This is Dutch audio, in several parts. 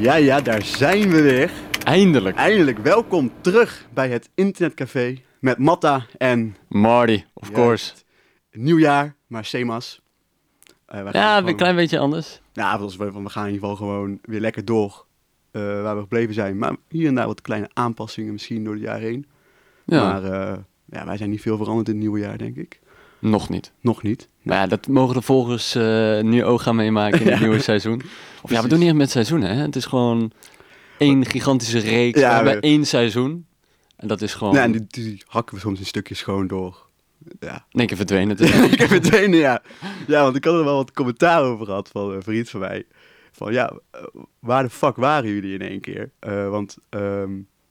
Ja, ja, daar zijn we weer. Eindelijk. Eindelijk welkom terug bij het internetcafé met Matta en Marty, of course. nieuwjaar, maar Semas. Eh, Ja, een klein beetje anders. Ja, we gaan in ieder geval gewoon weer lekker door eh, waar we gebleven zijn. Maar hier en daar wat kleine aanpassingen misschien door het jaar heen. Ja, Maar eh, ja, wij zijn niet veel veranderd in het nieuwe jaar, denk ik. nog niet. Nog niet. Maar ja, dat mogen de volgers eh, nu ook gaan meemaken in het nieuwe seizoen. Of ja, we Precies. doen niet echt met seizoenen, hè. Het is gewoon één gigantische reeks. Ja, Ja, we we- hebben één seizoen. En dat is gewoon Nou, en die, die hakken we soms in stukjes gewoon door. Ja, in één keer verdwenen. Dus, Het is- ik heb het ene, ja. Ja, want ik had er wel wat commentaar over gehad van een vriend van mij. Van ja, eh, waar de fuck waren jullie in één keer? Eh, want ehm,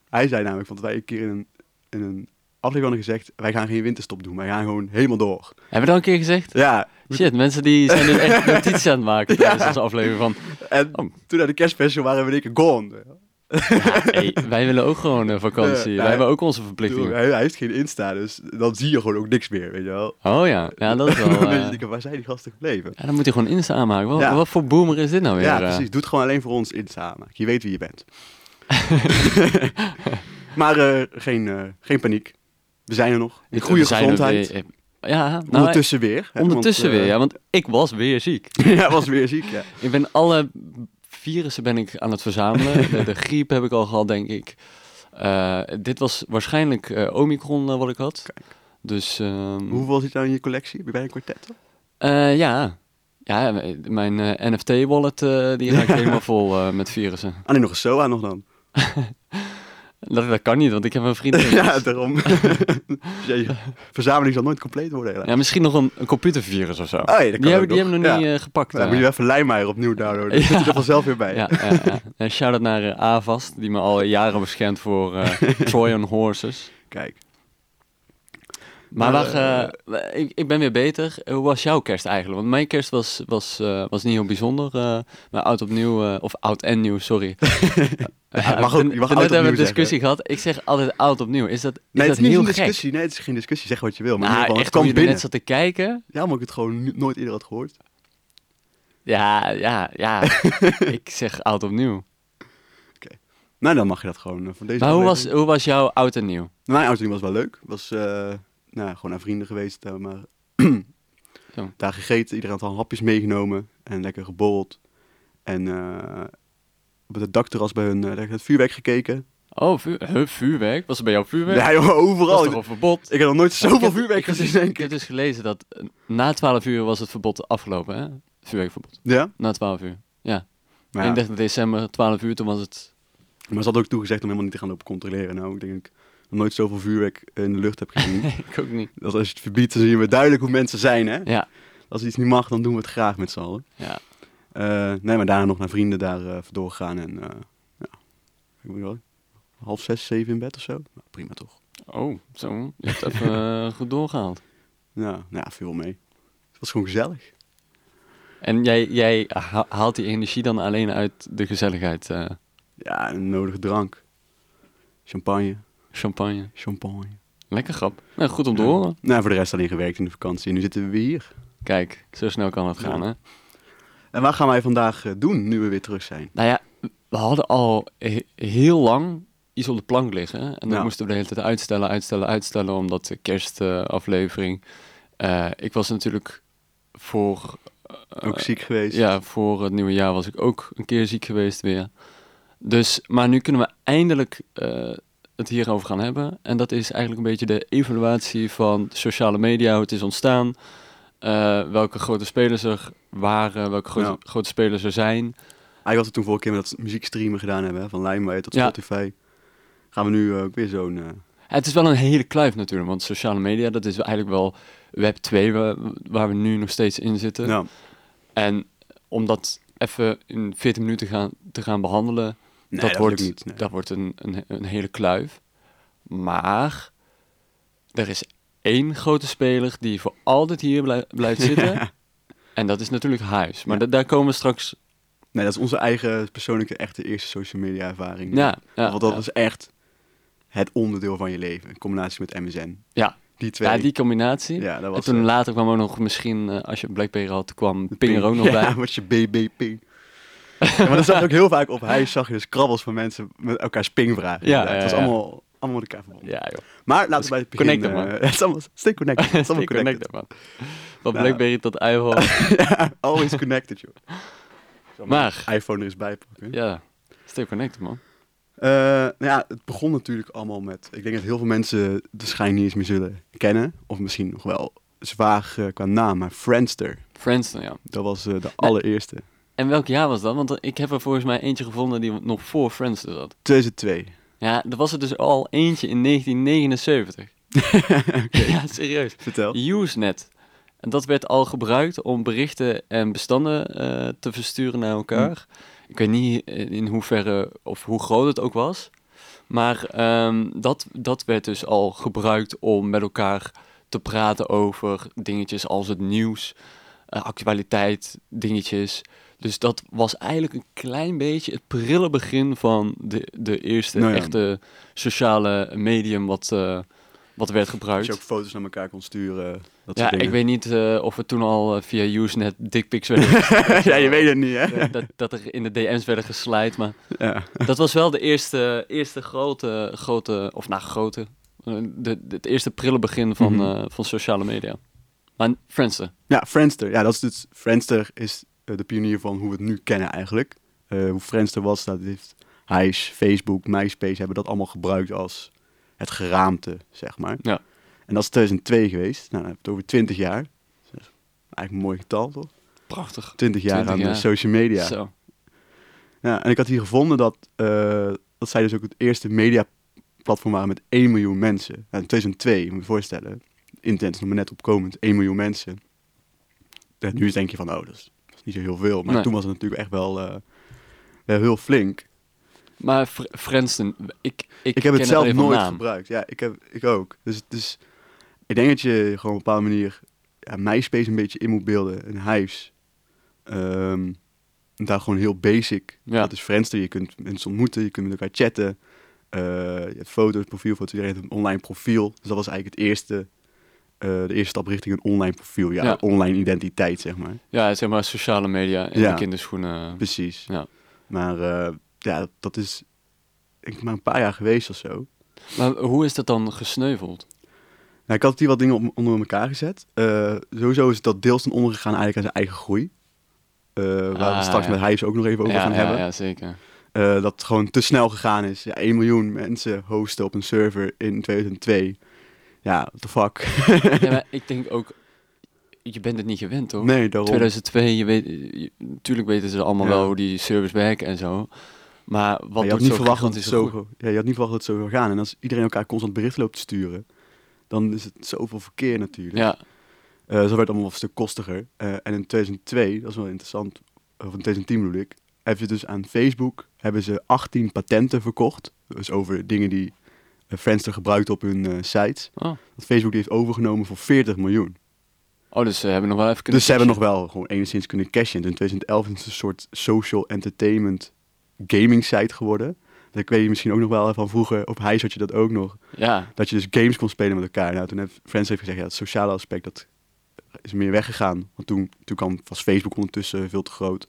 hij zei namelijk, want wij een keer in een, in een aflevering hadden gezegd... wij gaan geen winterstop doen, wij gaan gewoon helemaal door. Hebben we dat een keer gezegd? Ja, Shit, mensen die zijn dus echt notities aan het maken tijdens onze aflevering van... en Oh. toen naar de kerstspecial waren we in één keer gone. Hey, wij willen ook gewoon een Eh, vakantie. nou, wij hebben ook onze verplichtingen. Hij, hij heeft geen Insta, dus dan zie je gewoon ook niks meer, weet je wel. Oh ja, ja dat is wel... Dan eh, denk ik, waar zijn die gasten gebleven? Ja, dan moet je gewoon Insta aanmaken. Wat, Ja. wat voor boomer is dit nou weer? Ja, eh? precies. Doe het gewoon alleen voor ons Insta. maar Je weet wie je bent. maar eh, geen, eh, geen paniek. We zijn er nog. In Ik- goede we zijn er gezondheid. weer- ja, nou, ondertussen weer. hè, ondertussen want, eh, weer. Ja, want ik was weer ziek. ja, was weer ziek. Ja. Ik ben alle virussen ben ik aan het verzamelen. de, de griep heb ik al gehad, denk ik. Eh, dit was waarschijnlijk eh, Omicron eh, wat ik had. Dus ehm, Hoeveel zit er in je collectie? Heb je bij een kwartet? al? eh, ja. ja, m- mijn eh, NFT-wallet eh, die raakt helemaal vol eh, met virussen. Ah, nee, nog een SOA nog dan. Dat, dat kan niet, want ik heb een vriendin. ja, daarom. Dus ja, je verzameling zal nooit compleet worden helaas. Nou, Ja, misschien nog een, een computervirus of zo. Oh, ja, dat kan die, ook hebben, nog. die hebben nog niet Ja. eh, gepakt. Nou, eh. moet je even Lijmaier opnieuw downloaden. Dan Ja. zit je er vanzelf weer bij. Ja, ja, ja. En shout-out naar eh, Avast, die me al jaren beschermt voor eh, Trojan Horses. Kijk. Maar Maar, wacht, eh, ik, ik ben weer beter. Eh, Hoe was jouw kerst eigenlijk? Want mijn kerst was, was, eh, was niet heel bijzonder. eh, maar oud opnieuw, eh, of oud en nieuw, sorry. mag ook- je mag oud Net opnieuw hebben we een zeggen. discussie gehad. Ik zeg altijd oud opnieuw. Is dat, is Nee, het dat is niet heel een gek? discussie. Nee, het is geen discussie. Zeg wat je wil. Maar in Nou, ieder geval, echt het kwam hoe je er binnen. net zat te kijken. Ja, maar ik het gewoon nu- nooit eerder had gehoord. Ja, ja, ja. ik zeg oud opnieuw. Nou, dan mag je dat gewoon eh, voor deze Maar hoe was, aflevering. hoe was jouw oud en nieuw? Mijn uitzending was wel leuk. Was eh, nou, gewoon naar vrienden geweest. eh, maar Zo. daar gegeten. Iedereen had al hapjes meegenomen. En lekker geborreld. En eh, op het dakterras bij hun eh, lekker het vuurwerk gekeken. Oh, vuur, huh, vuurwerk? Was het bij jou vuurwerk? Ja, joh, Dat overal. is toch een verbod? Ik heb nog nooit Ik zoveel heb- vuurwerk ik heb gezien, dus- denk Ik heb ik. dus gelezen dat eh, na 12 uur was het verbod afgelopen, hè? Vuurwerkverbod. Ja? Na 12 uur. Ja. Maar, ja. 31 december, 12 uur, toen was het... maar ze had ook toegezegd om helemaal niet te gaan lopen controleren. Nou, ik denk dat ik nog nooit zoveel vuurwerk in de lucht heb gezien. Ik ook niet. dat als je het verbiedt, dan zien we duidelijk hoe mensen zijn, hè? Ja. Als iets niet mag, dan doen we het graag met z'n allen. Ja. Eh, nee, maar daarna nog naar vrienden daar eh vandoor gegaan. En eh, ja, ik weet wel, half zes, zeven in bed of zo. Nou, prima toch. Oh, zo. Je hebt even eh, goed doorgehaald. Ja, nou, ja, veel mee. Het was gewoon gezellig. En jij, jij ha- haalt die energie dan alleen uit de gezelligheid. eh, Ja, en een nodige drank. Champagne, champagne. champagne. Lekker grap. Nou, goed om te horen. Nou, voor de rest alleen gewerkt in de vakantie. En nu zitten we weer hier. Kijk, zo snel kan het gaan, Ja. hè? En wat gaan wij vandaag eh, doen, nu we weer terug zijn? Nou ja, we hadden al he- heel lang iets op de plank liggen. En dat Ja. moesten we de hele tijd uitstellen, uitstellen, uitstellen. Omdat de kerstaflevering. Eh, ik was natuurlijk voor. eh, Ook ziek geweest. Ja, voor het nieuwe jaar was ik ook een keer ziek geweest weer. Dus, maar nu kunnen we eindelijk eh, het hierover gaan hebben. En dat is eigenlijk een beetje de evaluatie van sociale media, hoe het is ontstaan. eh, welke grote spelers er waren, welke grote, Ja. grote spelers er zijn. Eigenlijk Ah, had het toen vorige keer met dat muziekstreamen gedaan hebben. hè, Van Limeway tot Ja. Spotify. Gaan we nu eh, ook weer zo'n... eh, Het is wel een hele kluif natuurlijk, want sociale media, dat is eigenlijk wel web 2 waar, waar we nu nog steeds in zitten. ja. En om dat even in 14 minuten gaan, te gaan behandelen, Nee, dat, dat wordt, lukt niet, nee. dat wordt een, een, een hele kluif. Maar er is één grote speler die voor altijd hier blij- blijft zitten. En dat is natuurlijk Huis. Maar Ja. da- daar komen we straks... Nee, dat is onze eigen persoonlijke, echte eerste social media ervaring. Ja, ja, Want dat ja. is echt het onderdeel van je leven. In combinatie met MSN. Ja. Die twee. ja, die combinatie. Ja, dat was, en toen eh, later kwam ook nog misschien, eh, als je Blackberry had, kwam de Ping er ook nog ja, bij. wat je BBP. Ja, maar dat zag je ook heel vaak op huis, zag je dus krabbels van mensen met elkaar spingvragen. Ja, Ja, het ja, was ja. allemaal, allemaal met elkaar verbonden. Ja, joh. Maar laten is we bij het begin... connected, eh, man. het is allemaal, stay connected. Het is allemaal Stay connected. connected, man. Van Nou. Blackberry tot iPhone. Always connected, joh. Ik zal mijn Maar- iPhone er eens bij pakken. ja, stay connected, man. Eh, nou ja, het begon natuurlijk allemaal met... Ik denk dat heel veel mensen de schijn niet eens meer zullen kennen. Of misschien nog wel zwaar eh, qua naam, maar Friendster. Friendster, nou ja. Dat was eh, de allereerste. En welk jaar was dat? Want ik heb er volgens mij eentje gevonden die nog voor Friendster zat. 2002. Ja, er was er dus al eentje in 1979. Ja, serieus. Vertel. Usenet. En dat werd al gebruikt om berichten en bestanden eh, te versturen naar elkaar. Hmm. Ik weet niet eh, in hoeverre of hoe groot het ook was. Maar ehm, dat, dat werd dus al gebruikt om met elkaar te praten over dingetjes als het nieuws, eh, actualiteit, dingetjes. Dus dat was eigenlijk een klein beetje het prille begin van de, de eerste Nou ja. echte sociale medium wat, eh, wat werd gebruikt. Dat je ook foto's naar elkaar kon sturen. Dat Ja, soort dingen. ik weet niet eh, of we toen al eh, via Usenet dickpics werden... gestuurd. Eh, ja, je weet het niet, hè? dat, dat er in de DM's werden geslijt, maar Ja. dat was wel de eerste, eerste grote, grote, of nou grote, eh, de, de- het eerste prille begin van, Mhm. eh, van sociale media. Maar Friendster, Ja, Friendster. Ja, dat is dus, Friendster is eh, de pionier van hoe we het nu kennen eigenlijk. Eh, hoe Friendster was, dat heeft Hives, Facebook, MySpace hebben dat allemaal gebruikt als het geraamte, zeg maar. Ja. En dat is 2002 geweest. Nou, dan heb je het over 20 jaar. Dat is eigenlijk een mooi getal, toch? prachtig. 20 jaar 20 aan jaar. de social media. Zo. Ja, en ik had hier gevonden dat, eh, dat zij dus ook het eerste mediaplatform waren met 1 miljoen mensen. Nou, in 2002, moet je je voorstellen. Internet is nog maar net opkomend, 1 miljoen mensen. En nu denk je van, oh, dat is, dat is niet zo heel veel. Maar Nee. toen was het natuurlijk echt wel, eh, wel heel flink. Maar Fr- Friendster, ik, ik, Ik, heb het ken zelf alleen van nooit naam. gebruikt. Ja, ik, heb, ik ook. Dus het is, ik denk dat je gewoon op een bepaalde manier ja, MySpace een beetje in moet beelden. En Hives. Ehm, en daar gewoon heel basic. Ja. Dat is Friendster. Je kunt mensen ontmoeten, je kunt met elkaar chatten. Eh, je hebt foto's, profielfoto's. Iedereen heeft een online profiel. Dus dat was eigenlijk het eerste, eh, de eerste stap richting een online profiel. Ja, Ja. online identiteit, zeg maar. Ja, zeg maar sociale media en Ja. de kinderschoenen. Precies. Ja. Maar eh, ja, dat is ik denk maar een paar jaar geweest of zo. Maar hoe is dat dan gesneuveld? Nou, ik had hier wat dingen om- onder elkaar gezet. Eh, sowieso is dat deels ten onder gegaan eigenlijk aan zijn eigen groei. Eh, waar we Ah, het straks ja. met Hijs ook nog even over ja, gaan ja, hebben. ja, zeker. Eh, dat het gewoon te snel gegaan is. Ja, 1 miljoen mensen hosten op een server in 2002. Ja, what the fuck. Ja, maar ik denk ook, je bent het niet gewend, toch? Nee, daarom. 2002, je weet, je- natuurlijk weten ze allemaal Ja. wel hoe die servers werken en zo. Maar wat Ja, je, had doet niet zo'n verwacht dat het gigantische zo, groei? ja, je had niet verwacht dat het zo zou gaan. En als iedereen elkaar constant bericht loopt te sturen, dan is het zoveel verkeer natuurlijk. Ja, Eh, zo werd het allemaal een stuk kostiger. Eh, en in 2002, dat is wel interessant, of in 2010 bedoel ik, heb je dus aan Facebook hebben ze 18 patenten verkocht. Dus over dingen die eh, Friendster gebruikt op hun eh, sites. Oh. Dat Facebook die heeft overgenomen voor 40 miljoen. oh, dus ze hebben nog wel even kunnen... dus ze hebben nog wel gewoon enigszins kunnen cashen. Dus in 2011 is het een soort social entertainment gaming site geworden. Ik weet je misschien ook nog wel van vroeger, op Highs had je dat ook nog. Ja, Dat je dus games kon spelen met elkaar. Nou, toen heeft Friends heeft gezegd, ja, het sociale aspect, dat is meer weggegaan. Want toen, toen kwam, was Facebook ondertussen veel te groot.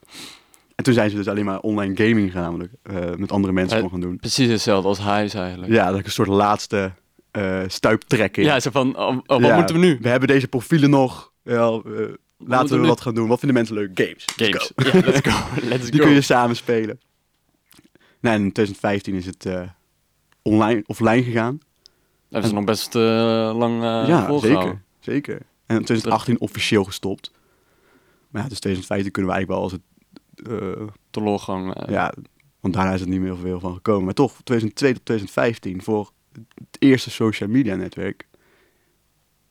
En toen zijn ze dus alleen maar online gaming gaan namelijk, eh, met andere mensen Eh, kon gaan doen. precies hetzelfde als Hives eigenlijk. Ja, dat is een soort laatste eh stuiptrekking. Ja, ze van, oh, oh, wat Ja, moeten we nu? We hebben deze profielen nog. Wel, eh, moeten laten we we nu? wat gaan doen. Wat vinden mensen leuk? Games. Let's go. Games. Ja, let's go, let's Die go. kun je samen spelen. Nou, en in 2015 is het eh, online, offline gegaan. Daar hebben ze nog best eh, lang eh ja, volgehouden. zeker, zeker. En in 2018 officieel gestopt. Maar ja, dus 2015 kunnen we eigenlijk wel als het... eh, Teleurgang. eh, ja, want daarna is het niet meer veel van gekomen. Maar toch, 2002 tot 2015 voor het eerste social media netwerk...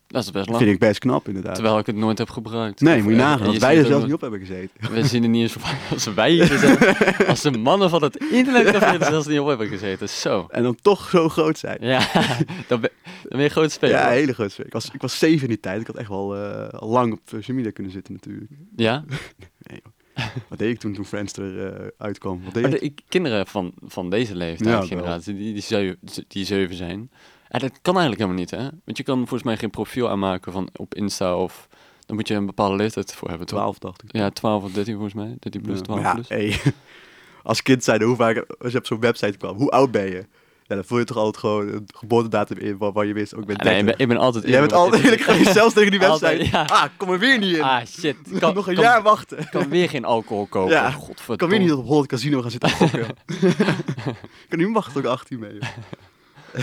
Dat is best lang. vind ik best knap, inderdaad. Terwijl ik het nooit heb gebruikt. nee, Of, moet je eh, nagaan en dat wij er ziet zelfs ook niet op hebben gezeten. nog- We zien er niet eens voorbij als wij hier zijn. Als de mannen van het internet nog er zelfs niet op hebben gezeten. Zo. En dan toch zo groot zijn. Ja, dan ben, dan ben je groot speler. Ja, hele groot. Ik was, ik was zeven in die tijd. Ik had echt wel eh, al lang op social media kunnen zitten natuurlijk. Ja? Wat deed ik toen, toen Friendster eh, uitkwam? Wat deed Maar ik? de, ik- kinderen van, van deze Ja, leeftijd, wel. generatie, die, die, zeu- die zeven zijn. En dat kan eigenlijk helemaal niet, hè? Want je kan volgens mij geen profiel aanmaken van, op Insta of... Dan moet je een bepaalde leeftijd voor hebben, toch? 12 dacht ik. Ja, 12 of 13 volgens mij. 13 plus, Ja. 12 Maar plus. ja, hey, als kind zijn, hoe vaak, als je op zo'n website kwam, hoe oud ben je? Ja, dan voel je toch altijd gewoon een geboortedatum in waarvan je wist, ook ik ben Ah, nee, 30. ik ben, ik ben altijd Jij bent altijd eerlijk geweest, zelfs tegen die Altijd, website. ja. Ah, kom er weer niet in. Ah, shit. Kan, Nog een kan, jaar wachten. kan weer geen alcohol kopen. Ja. Godverdomme. Ik kan weer niet op Holland Casino gaan zitten gokken. ik kan niet wachten tot ik 18 ben. joh.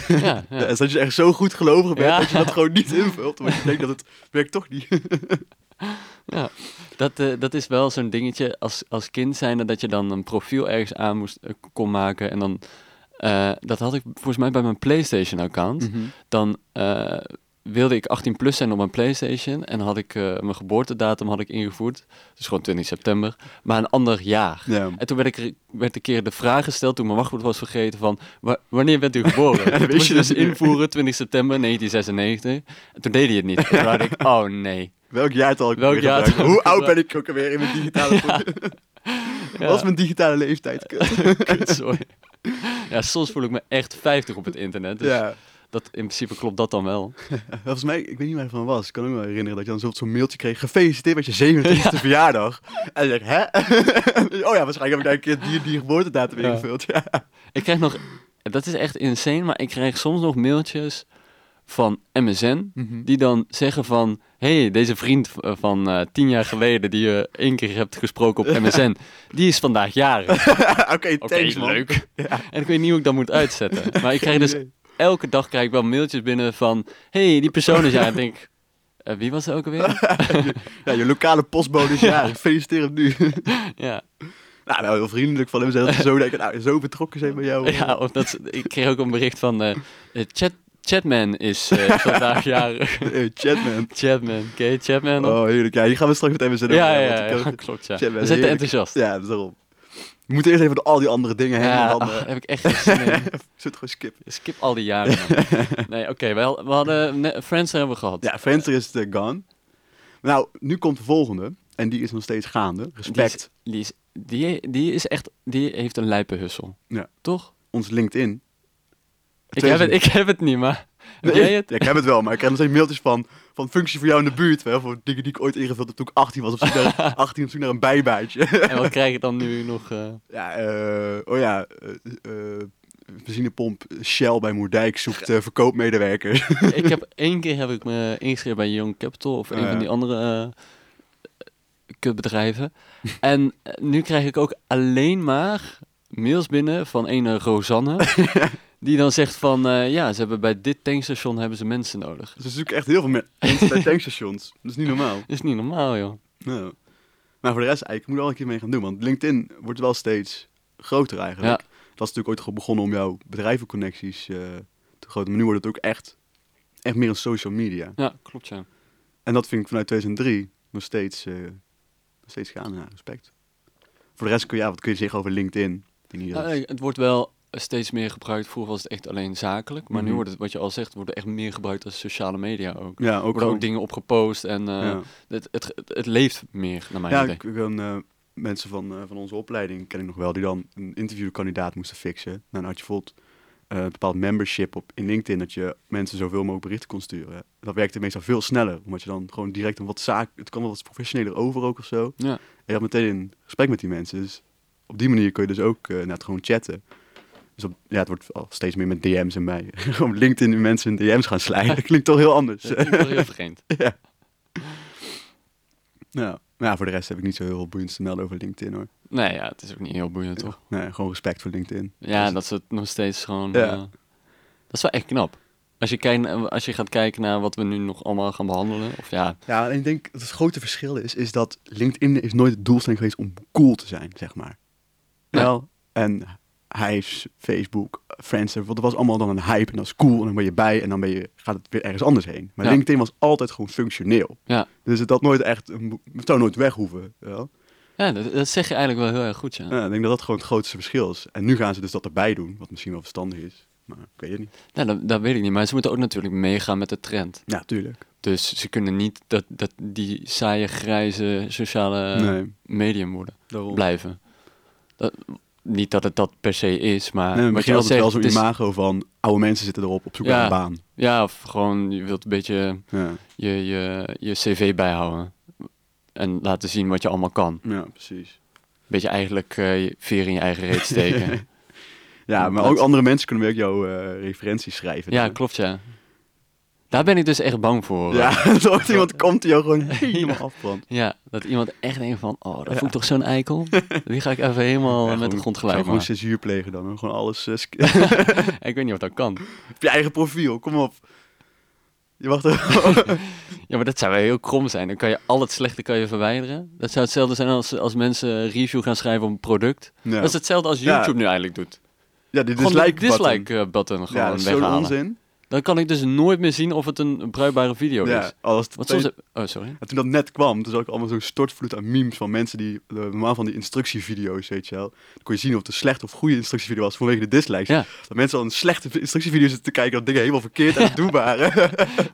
Ja, ja. Ja, en dat je echt zo goed gelovig bent Ja. dat je dat gewoon niet invult. Want je denkt dat het werkt toch niet. Ja, dat, eh, dat is wel zo'n dingetje als, als kind zijnde dat je dan een profiel ergens aan moest, eh, kon maken. En dan, eh, dat had ik volgens mij bij mijn PlayStation-account. Mhm. Dan eh, wilde ik 18 plus zijn op mijn PlayStation. En had ik eh, mijn geboortedatum had ik ingevoerd. Dus gewoon 20 september. Maar een ander jaar. Ja. En toen werd, ik, er- werd een keer de vraag gesteld, toen mijn wachtwoord was vergeten, van "Wa- wanneer bent u geboren? dat Toen wist moest je je dus dus niet meer. invoeren, 20 september 1996. En toen deed hij het niet. Toen dacht ik, oh nee. Welk jaartal ik Welk weer jaartal gebruik. ik Hoe oud gebruik. ben ik ook alweer in mijn digitale... Ja. Wat is mijn digitale leeftijd? Kut. Kut, sorry. Ja, soms voel ik me echt 50 op het internet. Dus Ja. dat, in principe klopt dat dan wel. Volgens mij, ik weet niet waar het van was. Ik kan me wel herinneren dat je dan bijvoorbeeld zo'n mailtje kreeg. Gefeliciteerd met je 27e verjaardag. En je zegt, hè? oh ja, waarschijnlijk heb ik daar een keer die, die geboortedatum Ja. ingevuld. Ja. Ik krijg nog, dat is echt insane, maar ik krijg soms nog mailtjes van MSN. Die dan zeggen van, hey, deze vriend eh, van eh, tien jaar geleden die je één keer hebt gesproken op MSN, die is vandaag jarig. Oké, Oké, thanks man. leuk. En ik weet niet hoe ik dat moet uitzetten. Maar ik krijg dus idee. elke dag krijg ik wel mailtjes binnen van, hey, die persoon is jarig. En ik denk, eh, wie was dat ook alweer? Ja, je lokale postbode is jarig. Feliciteer hem nu. ja. Nou, nou, heel vriendelijk van hem zijn dat ze zo denken, nou, zo betrokken zijn bij jou. Ja, of dat, ze- ik kreeg ook een bericht van eh, eh, Chat, Chatman is eh, vandaag jarig. Hey, Chatman. Chatman, ken je Chatman? nog? Eh, Oh, heerlijk. Ja, hier gaan we straks met MSN over ja, hebben, ja, want ja, ik kan- ja, klopt. Ja. Chatman, We zijn te heerlijk. enthousiast. Ja, Ja, dat is daarom. We moeten eerst even door al die andere dingen heen. en dan, ach, eh, heb ik echt geen zin in. Zit gewoon skippen. Skip al die jaren. man. Nee, oké, we, had- we hadden ne- Friends hebben we gehad. Ja, Friendster is de gone. Nou, nu komt de volgende. En die is nog steeds gaande. Die is, Respect. die, is, die, die is echt, die heeft een lijpe hussel. Ja. Toch? Ons LinkedIn. Ik heb, het, ik heb het niet, maar heb Nee, jij het? ja, ik heb het wel, maar ik krijg nog steeds mailtjes van, van functie voor jou in de buurt. Wel, voor dingen die ik ooit ingevuld heb toen ik 18 was. Op zoek naar, 18 op zoek naar een bijbaantje. En wat krijg ik dan nu nog? eh? Ja, eh, oh ja, eh, eh, benzinepomp Shell bij Moerdijk zoekt eh, verkoopmedewerkers. ik heb één keer heb ik me ingeschreven bij Young Capital of een Ah, ja. van die andere eh, kutbedrijven. en eh, nu krijg ik ook alleen maar mails binnen van een eh, Rosanne. die dan zegt van eh, ja, ze hebben bij dit tankstation hebben ze mensen nodig. Ze zoeken echt heel veel me- mensen bij tankstations. Dat is niet normaal. Dat is niet normaal, joh. Nou. Maar voor de rest eigenlijk moet je wel een keer mee gaan doen. Want LinkedIn wordt wel steeds groter eigenlijk. Ja. Dat is natuurlijk ooit gewoon begonnen om jouw bedrijvenconnecties eh, te groten. Maar nu wordt het ook echt, echt meer een social media. Ja, klopt ja. En dat vind ik vanuit 2003 nog steeds, eh, nog steeds gaan. Ja, respect. Voor de rest kun je, ja, wat kun je zeggen over LinkedIn? Ik denk niet dat- Nou, eh, het wordt wel steeds meer gebruikt. Vroeger was het echt alleen zakelijk, maar nu Mhm. wordt het, wat je al zegt, wordt echt meer gebruikt als sociale media ook. ja, ook, Er worden gewoon- ook dingen opgepost en eh, ja. het, het, het, het leeft meer, naar mijn Ja, idee. ik, ik kan, eh, mensen van, eh, van onze opleiding ken ik nog wel, die dan een interviewkandidaat moesten fixen. Nou, dan had je bijvoorbeeld eh, een bepaald membership op, in LinkedIn, dat je mensen zoveel mogelijk berichten kon sturen. Dat werkte meestal veel sneller, omdat je dan gewoon direct een wat zaak, het kwam wel wat professioneler over ook of zo. En Ja. je had meteen een gesprek met die mensen. Dus op die manier kun je dus ook eh, net gewoon chatten. Dus op, ja, het wordt al steeds meer met DM's en mij. Gewoon op LinkedIn die mensen in DM's gaan slijden. Dat klinkt toch heel anders. Dat klinkt wel heel vreemd. Ja. Maar ja, Nou, voor de rest heb ik niet zo heel veel boeiends te melden over LinkedIn hoor. Nee, ja, het is ook niet heel boeiend, toch? Nee, gewoon respect voor LinkedIn. Ja, Dus- dat ze het nog steeds gewoon... Ja. eh, dat is wel echt knap. Als je, kijkt, als je gaat kijken naar wat we nu nog allemaal gaan behandelen, of ja... Ja, en ik denk dat het grote verschil is, is dat LinkedIn is nooit het doelstelling geweest om cool te zijn, zeg maar. Nee. Wel, en hij is Facebook, Friends, want dat was allemaal dan een hype en dat is cool en dan ben je bij en dan ben je, gaat het weer ergens anders heen. Maar Ja. LinkedIn was altijd gewoon functioneel. Ja, Dus het had nooit echt, een mo- het zou nooit weg hoeven. Wel? ja dat, dat zeg je eigenlijk wel heel erg goed, ja. Ja, Nou, ik denk dat dat gewoon het grootste verschil is. En nu gaan ze dus dat erbij doen, wat misschien wel verstandig is, maar ik weet het niet. ja dat, dat weet ik niet, maar ze moeten ook natuurlijk meegaan met de trend. Ja, tuurlijk. Dus ze kunnen niet dat, dat die saaie, grijze sociale Nee. medium worden, Daarom. blijven. Dat, niet dat het dat per se is, maar... Nee, maar wat misschien je had al het zegt, wel zo'n het is- imago van oude mensen zitten erop op zoek Ja. naar een baan. Ja, of gewoon, je wilt een beetje Ja. je, je, je cv bijhouden. en laten zien wat je allemaal kan. Ja, precies. Beetje eigenlijk eh, je veer in je eigen reet steken. Ja, maar Dat- ook andere mensen kunnen weer ook jouw eh, referenties schrijven. Dus- ja, klopt ja. Daar ben ik dus echt bang voor. hoor. Ja, dat er iemand komt die jou gewoon helemaal afbrandt. Ja, dat iemand echt denkt van, oh, dat voelt toch zo'n eikel. Die ga ik even helemaal Ja, met de gewoon- grond Zou gelijk gewoon maken. censuur plegen dan. hoor. Gewoon alles eh, sk- Ik weet niet of dat kan. op je eigen profiel. Kom op. Je wacht ook. Ja, maar dat zou wel heel krom zijn. Dan kan je al het slechte kan je verwijderen. Dat zou hetzelfde zijn als, als mensen een review gaan schrijven op een product. Ja. Dat is hetzelfde als Ja. YouTube nu eigenlijk doet. Ja, die Gewoon dislike de button. dislike-button gewoon Ja, dat is zo'n weghalen. onzin. Dan kan ik dus nooit meer zien of het een bruikbare video Ja, is. alles Want soms... heb- Oh, sorry. En toen dat net kwam, toen zag ik allemaal zo'n stortvloed aan memes van mensen die eh, normaal van die instructievideo's, weet je wel. Dan kon je zien of het een slecht of goede instructievideo was vanwege de dislikes. Ja. Dat mensen al een slechte instructievideo zitten te kijken, dat dingen helemaal verkeerd en doen waren.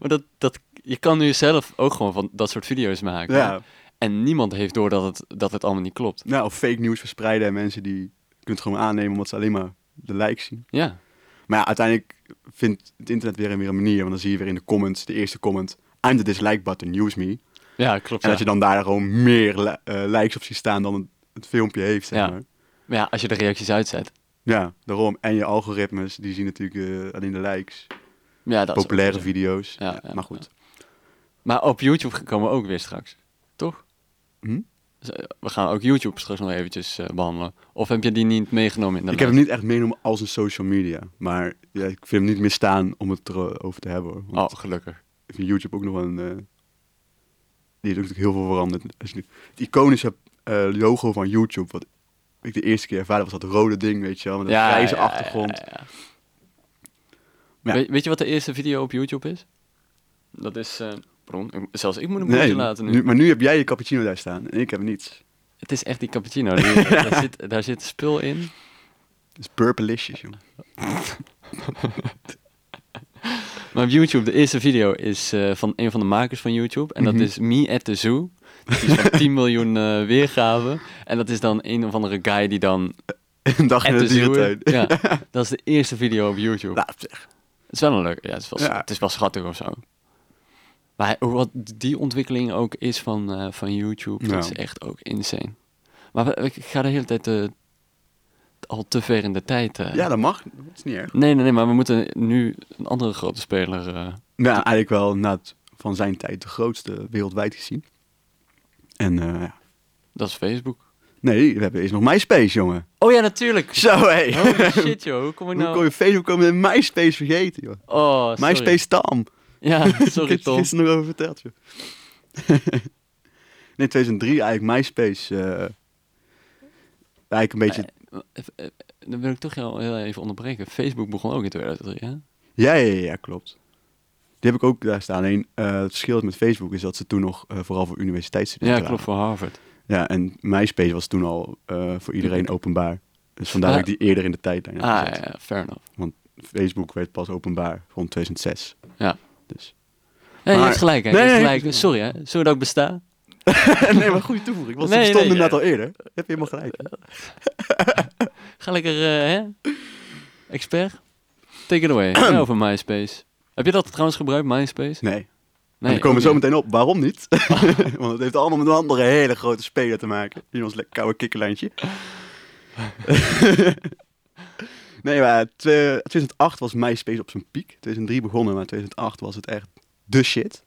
Maar dat, dat, je kan nu zelf ook gewoon van dat soort video's maken. ja. En niemand heeft door dat het, dat het allemaal niet klopt. Nou, of fake nieuws verspreiden en mensen die je kunt het gewoon aannemen omdat ze alleen maar de likes zien. Ja. Maar ja, uiteindelijk vindt het internet weer en weer een manier, want dan zie je weer in de comments, de eerste comment, I'm the dislike button, use me. Ja, klopt. En ja. dat je dan daar gewoon meer li- eh, likes op ziet staan dan het, het filmpje heeft, zeg Ja. maar. Maar ja, als je de reacties uitzet. Ja, daarom. En je algoritmes, die zien natuurlijk eh, alleen de likes. Ja, dat is ook Populaire zo. video's. Ja, Ja, ja, maar goed. Maar op YouTube komen we ook weer straks, toch? Hm? Dus, eh, We gaan ook YouTube straks nog eventjes eh, behandelen. Of heb je die niet meegenomen in de Ik heb hem lijst? niet echt meegenomen als een social media. Maar ja, ik vind hem niet misstaan om het erover te hebben. Hoor. Want Oh, gelukkig. ik vind YouTube ook nog wel een... eh, die heeft ook natuurlijk heel veel veranderd. Als je nu- Het iconische eh, logo van YouTube, wat ik de eerste keer ervaarde, was dat rode ding, weet je wel. Met een grijze ja, ja, achtergrond. ja, ja. Ja. Weet, weet je wat de eerste video op YouTube is? Dat is... eh, pardon, ik- zelfs ik moet een Nee, boekje laten nu. nu- maar nu heb jij je cappuccino daar staan en ik heb niets. Het is echt die cappuccino. Die- daar, zit, daar zit spul in. Het is purplicious, joh. Maar op YouTube, de eerste video is eh, van een van de makers van YouTube. En dat Mhm. is Me at the Zoo. Dat is van 10 miljoen eh, weergaven. En dat is dan een of andere guy die dan... Een dag in at de the zoo dierentuin. is. Ja, dat is de eerste video op YouTube. Nou, op zich. Het is wel een leuke... Ja, het is wel, Ja. het is wel schattig of zo. Maar hij- wat die ontwikkeling ook is van, eh, van YouTube, Ja. dat is echt ook insane. Maar we- ik ga de hele tijd eh, al te ver in de tijd... eh. Ja, dat mag. Dat is niet erg. Nee, nee, nee, maar we moeten nu een andere grote speler... eh, Ja, eigenlijk wel na het, van zijn tijd de grootste wereldwijd gezien. En eh, ja. dat is Facebook. nee, we hebben eerst nog MySpace, jongen. Oh ja, natuurlijk. Zo, hé. Holy shit, joh. Hoe kom ik Hoe kon nou... je Facebook komen en MySpace vergeten, joh? Oh, sorry. MySpace Tam. Ja, Ik sorry, heb Tom. gisteren nog over verteld, joh. nee, 2003 eigenlijk MySpace... eh eigenlijk een beetje... Even, eh, Dan wil ik toch heel heel even onderbreken. Facebook begon ook in 2003, hè? Ja, ja, ja, ja, klopt. Die heb ik ook daar staan. Alleen, eh, het verschil met Facebook is dat ze toen nog eh, vooral voor universiteitsstudenten Ja, klopt, voor Harvard. waren. Ja, en MySpace was toen al eh, voor iedereen openbaar. Dus vandaar Ah. dat ik die eerder in de tijdlijn heb Ah, gezet. ja, fair enough. Facebook werd pas openbaar rond 2006. Ja. Dus. Nee, je Maar- hebt gelijk, hè? Je Nee, hebt nee, gelijk. Sorry, hè? Sorry dat ik besta. nee, maar goede toevoeging. Want Nee, die nee, stonden ja. Eh, net al eerder. Heb je helemaal gelijk. Ga lekker, eh, hè? Expert. Take it away. Ja, over MySpace. Heb je dat trouwens gebruikt, MySpace? Nee. Nee, en dan komen we ook zo niet. meteen op waarom niet. Want het heeft allemaal met een andere hele grote speler te maken. In ons lekker koude kikkerlijntje. nee, maar twe- 2008 was MySpace op zijn piek. 2003 begonnen, maar 2008 was het echt de shit.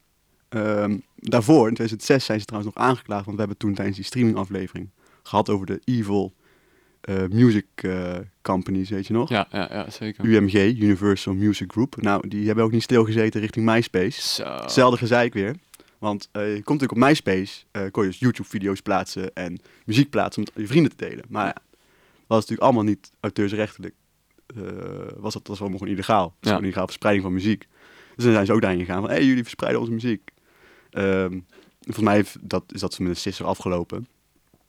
Ehm, daarvoor, in 2006, zijn ze trouwens nog aangeklaagd. Want we hebben toen tijdens die streamingaflevering gehad over de evil eh, music eh, companies, weet je nog? Ja, ja, ja, zeker. UMG, Universal Music Group. Nou, die hebben ook niet stilgezeten richting MySpace. Zo. Hetzelfde gezeik weer. Want eh, je komt natuurlijk op MySpace, eh, kon je dus YouTube-video's plaatsen en muziek plaatsen om het aan je vrienden te delen. Maar ja, dat was natuurlijk allemaal niet auteursrechtelijk. eh, was dat was allemaal gewoon illegaal. Het is Ja. gewoon illegaal verspreiding van muziek. Dus dan zijn ze ook daarin gegaan van, hé, hey, jullie verspreiden onze muziek. Ehm volgens mij heeft dat, is dat ze met een sisser afgelopen.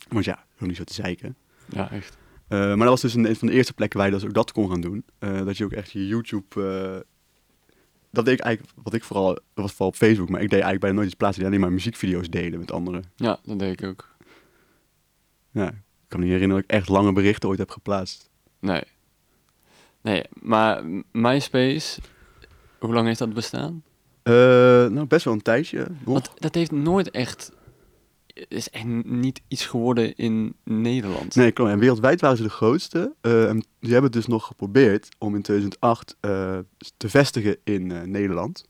Want ja, zo niet zo te zeiken. Ja, echt. Eh, maar dat was dus een, een van de eerste plekken waar je dus ook dat kon gaan doen. Eh, dat je ook echt je YouTube... eh, dat deed ik eigenlijk, wat ik vooral, dat was vooral op Facebook, maar ik deed eigenlijk bijna nooit iets plaatsen die alleen maar muziekvideo's delen met anderen. Ja, dat deed ik ook. Ja, ik kan me niet herinneren dat ik echt lange berichten ooit heb geplaatst. Nee. Nee, maar m- MySpace, hoe lang heeft dat bestaan? Eh, nou, best wel een tijdje. nog. Want dat heeft nooit echt is echt niet iets geworden in Nederland. Nee, klopt. En wereldwijd waren ze de grootste. Eh, en ze hebben het dus nog geprobeerd om in 2008 eh, te vestigen in eh, Nederland.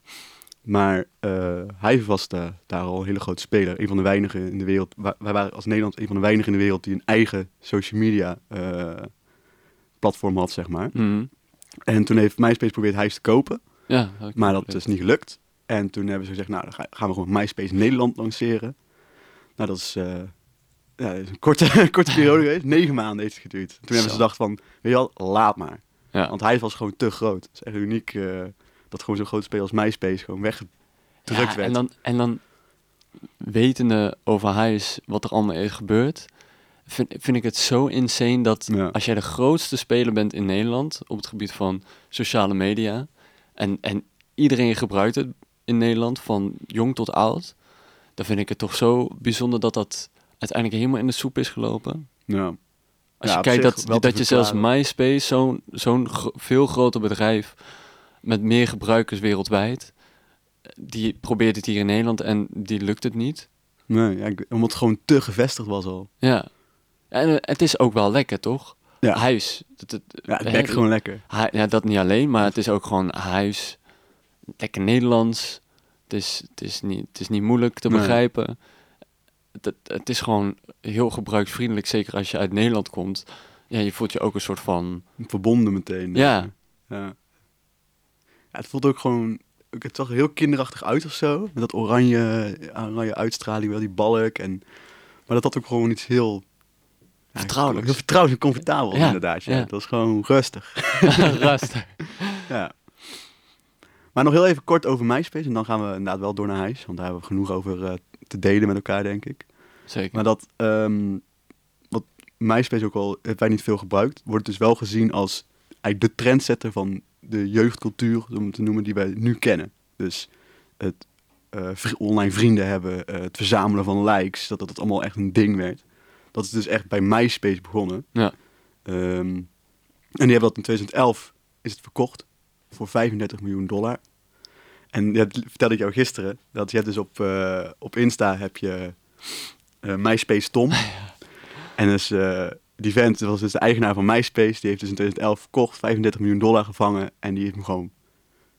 Maar eh, hij was da- daar al een hele grote speler. Een van de weinigen in de wereld. wa- Wij waren als Nederland een van de weinigen in de wereld die een eigen social media eh, platform had, zeg maar. Mhm. En toen heeft MySpace geprobeerd hij te kopen. Ja, dat heb ik Maar dat gelezen. is niet gelukt. En toen hebben ze gezegd, nou, dan ga- gaan we gewoon MySpace Nederland lanceren. Nou, dat is, eh, ja, dat is een korte, korte periode geweest. Negen maanden heeft het geduurd. Toen hebben Zo. ze gedacht van, weet je wel, laat maar. Ja. Want hij was gewoon te groot. Het is echt uniek eh, dat gewoon zo'n groot speler als MySpace gewoon weggedrukt En werd. dan, en dan wetende over huis wat er allemaal is gebeurd, vind, vind ik het zo insane dat Ja. als jij de grootste speler bent in Nederland op het gebied van sociale media en, en iedereen gebruikt het in Nederland van jong tot oud, dan vind ik het toch zo bijzonder dat dat uiteindelijk helemaal in de soep is gelopen. Ja. Ja, Als je op kijkt zich dat, wel dat, te je zelfs verklaren. MySpace, zo'n zo'n gro- veel groter bedrijf met meer gebruikers wereldwijd, die probeert het hier in Nederland en die lukt het niet. Nee, ja, ik- omdat het gewoon te gevestigd was al. Ja. En eh, het is ook wel lekker, toch? Ja. Huis. Dat, dat, Ja, het hè, werkt gewoon lekker. hu- ja, dat niet alleen, maar het is ook gewoon huis. Lekker Nederlands. Het is, het is, niet, het is niet moeilijk te Nee. begrijpen. Het, het is gewoon heel gebruiksvriendelijk, zeker als je uit Nederland komt. Ja, je voelt je ook een soort van... Verbonden meteen. Ja. Ja. Ja, het voelt ook gewoon... ook- Het zag er heel kinderachtig uit of zo. Met dat oranje, oranje uitstraling, wel die balk. En, maar dat had ook gewoon iets heel... ja, Vertrouwelijks. Heel vertrouwelijk en comfortabel, Ja, inderdaad. Ja. ja. Dat was gewoon rustig. Raster. Ja. Maar nog heel even kort over MySpace. En dan gaan we inderdaad wel door naar huis. Want daar hebben we genoeg over eh, te delen met elkaar, denk ik. Zeker. Maar dat, ehm, wat MySpace ook al, hebben wij niet veel gebruikt, wordt dus wel gezien als eigenlijk de trendsetter van de jeugdcultuur, om het te noemen, die wij nu kennen. Dus het eh, vri- online vrienden hebben, eh, het verzamelen van likes, dat dat het allemaal echt een ding werd. Dat is dus echt bij MySpace begonnen. Ja. Ehm, en die hebben dat in 2011 is het verkocht voor 35 miljoen dollar. En dat vertelde ik jou gisteren, dat je hebt dus op, eh, op Insta heb je eh, MySpace Tom. En dus eh, die vent dat was dus de eigenaar van MySpace. Die heeft dus in 2011 verkocht, 35 miljoen dollar gevangen. En die heeft hem gewoon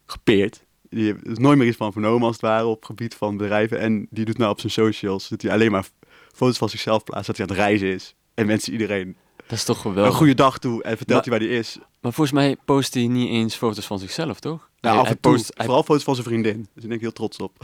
gepeerd. Die heeft er is nooit meer iets van vernomen als het ware op het gebied van bedrijven. En die doet nou op zijn socials, dat hij alleen maar foto's van zichzelf plaatst. Dat hij aan het reizen is. En mensen iedereen Dat is toch een geweldig. goede dag toe en vertelt Maar- hij waar hij is. Maar volgens mij post hij niet eens foto's van zichzelf, toch? Nou, Hij- af hij en toe, post- hij- vooral foto's van zijn vriendin. Dus ik denk heel trots op.